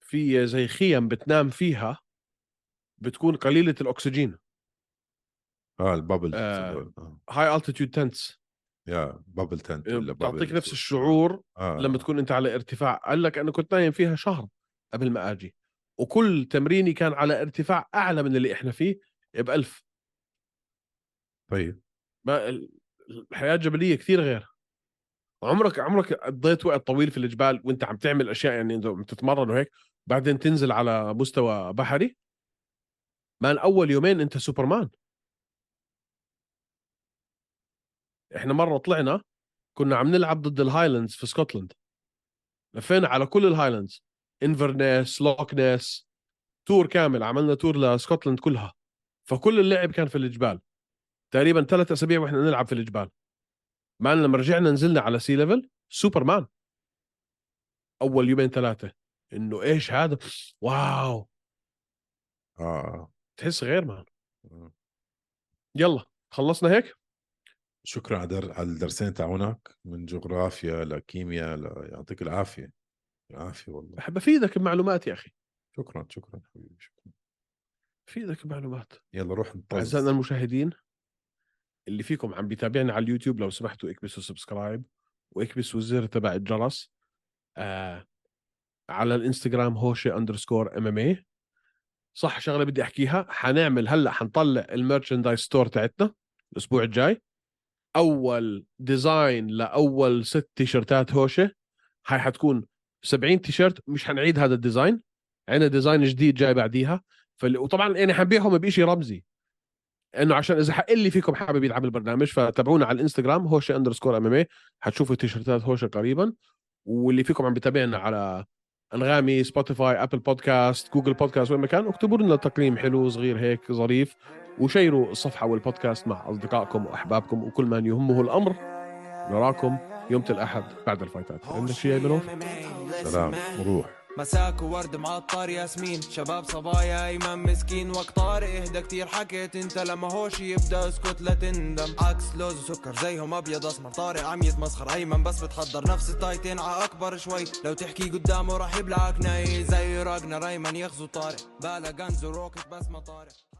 Speaker 1: في زي خيم بتنام فيها بتكون قليله الاكسجين
Speaker 2: اه البابل
Speaker 1: آه.
Speaker 2: هذول. آه.
Speaker 1: هاي التيتيود تنس
Speaker 2: يا بابل تنت ولا
Speaker 1: إيه، بتعطيك
Speaker 2: بابل
Speaker 1: نفس الشعور
Speaker 2: آه.
Speaker 1: لما تكون انت على ارتفاع قال لك انا كنت نايم فيها شهر قبل ما اجي وكل تمريني كان على ارتفاع اعلى من اللي احنا فيه ب 1000
Speaker 2: طيب
Speaker 1: ما ال- الحياه الجبليه كثير غير عمرك عمرك قضيت وقت طويل في الجبال وانت عم تعمل اشياء يعني إنت عم تتمرن وهيك بعدين تنزل على مستوى بحري مان اول يومين انت سوبرمان احنا مره طلعنا كنا عم نلعب ضد الهايلاندز في اسكتلند لفينا على كل الهايلاندز انفرنس لوكنس تور كامل عملنا تور لاسكتلند كلها فكل اللعب كان في الجبال تقريبا ثلاث اسابيع واحنا نلعب في الجبال مان لما رجعنا نزلنا على سي ليفل سوبرمان اول يومين ثلاثه انه ايش هذا واو
Speaker 2: اه
Speaker 1: تحس غير مان
Speaker 2: آه.
Speaker 1: يلا خلصنا هيك
Speaker 2: شكرا على در... على الدرسين تاعونك من جغرافيا لكيمياء ل... يعطيك العافيه العافيه والله
Speaker 1: بحب افيدك بمعلومات يا اخي
Speaker 2: شكرا شكرا حبيبي شكرا
Speaker 1: افيدك بمعلومات
Speaker 2: يلا روح نطز
Speaker 1: اعزائنا المشاهدين اللي فيكم عم بيتابعنا على اليوتيوب لو سمحتوا اكبسوا سبسكرايب واكبسوا الزر تبع الجرس آه على الانستغرام هوشه اندرسكور ام ام اي إيه. صح شغله بدي احكيها حنعمل هلا حنطلع الميرشندايز ستور تاعتنا الاسبوع الجاي اول ديزاين لاول ست تيشرتات هوشه هاي حتكون 70 تيشرت مش حنعيد هذا الديزاين عندنا ديزاين جديد جاي بعديها فال... وطبعا انا حنبيعهم بشيء رمزي انه عشان اذا حق اللي فيكم حابب يلعب البرنامج فتابعونا على الانستغرام هوشه اندرسكور ام ام اي إيه. حتشوفوا تيشرتات هوشه قريبا واللي فيكم عم بتابعنا على انغامي سبوتيفاي ابل بودكاست جوجل بودكاست وين ما كان اكتبوا لنا تقييم حلو صغير هيك ظريف وشيروا الصفحه والبودكاست مع اصدقائكم واحبابكم وكل من يهمه الامر نراكم يوم الاحد بعد الفايتات عندك شيء يا بلوف
Speaker 2: سلام وروح
Speaker 3: مساك وورد معطر ياسمين شباب صبايا ايمن مسكين وقت طارق اهدى كتير حكيت انت لما هوش يبدا اسكت لا تندم عكس لوز وسكر زيهم ابيض اسمر طارق عم يتمسخر ايمن بس بتحضر نفس التايتين ع اكبر شوي لو تحكي قدامه راح يبلعك ناي زي راجنر ايمن يغزو طارق بالا غنز وروكت بس ما طارق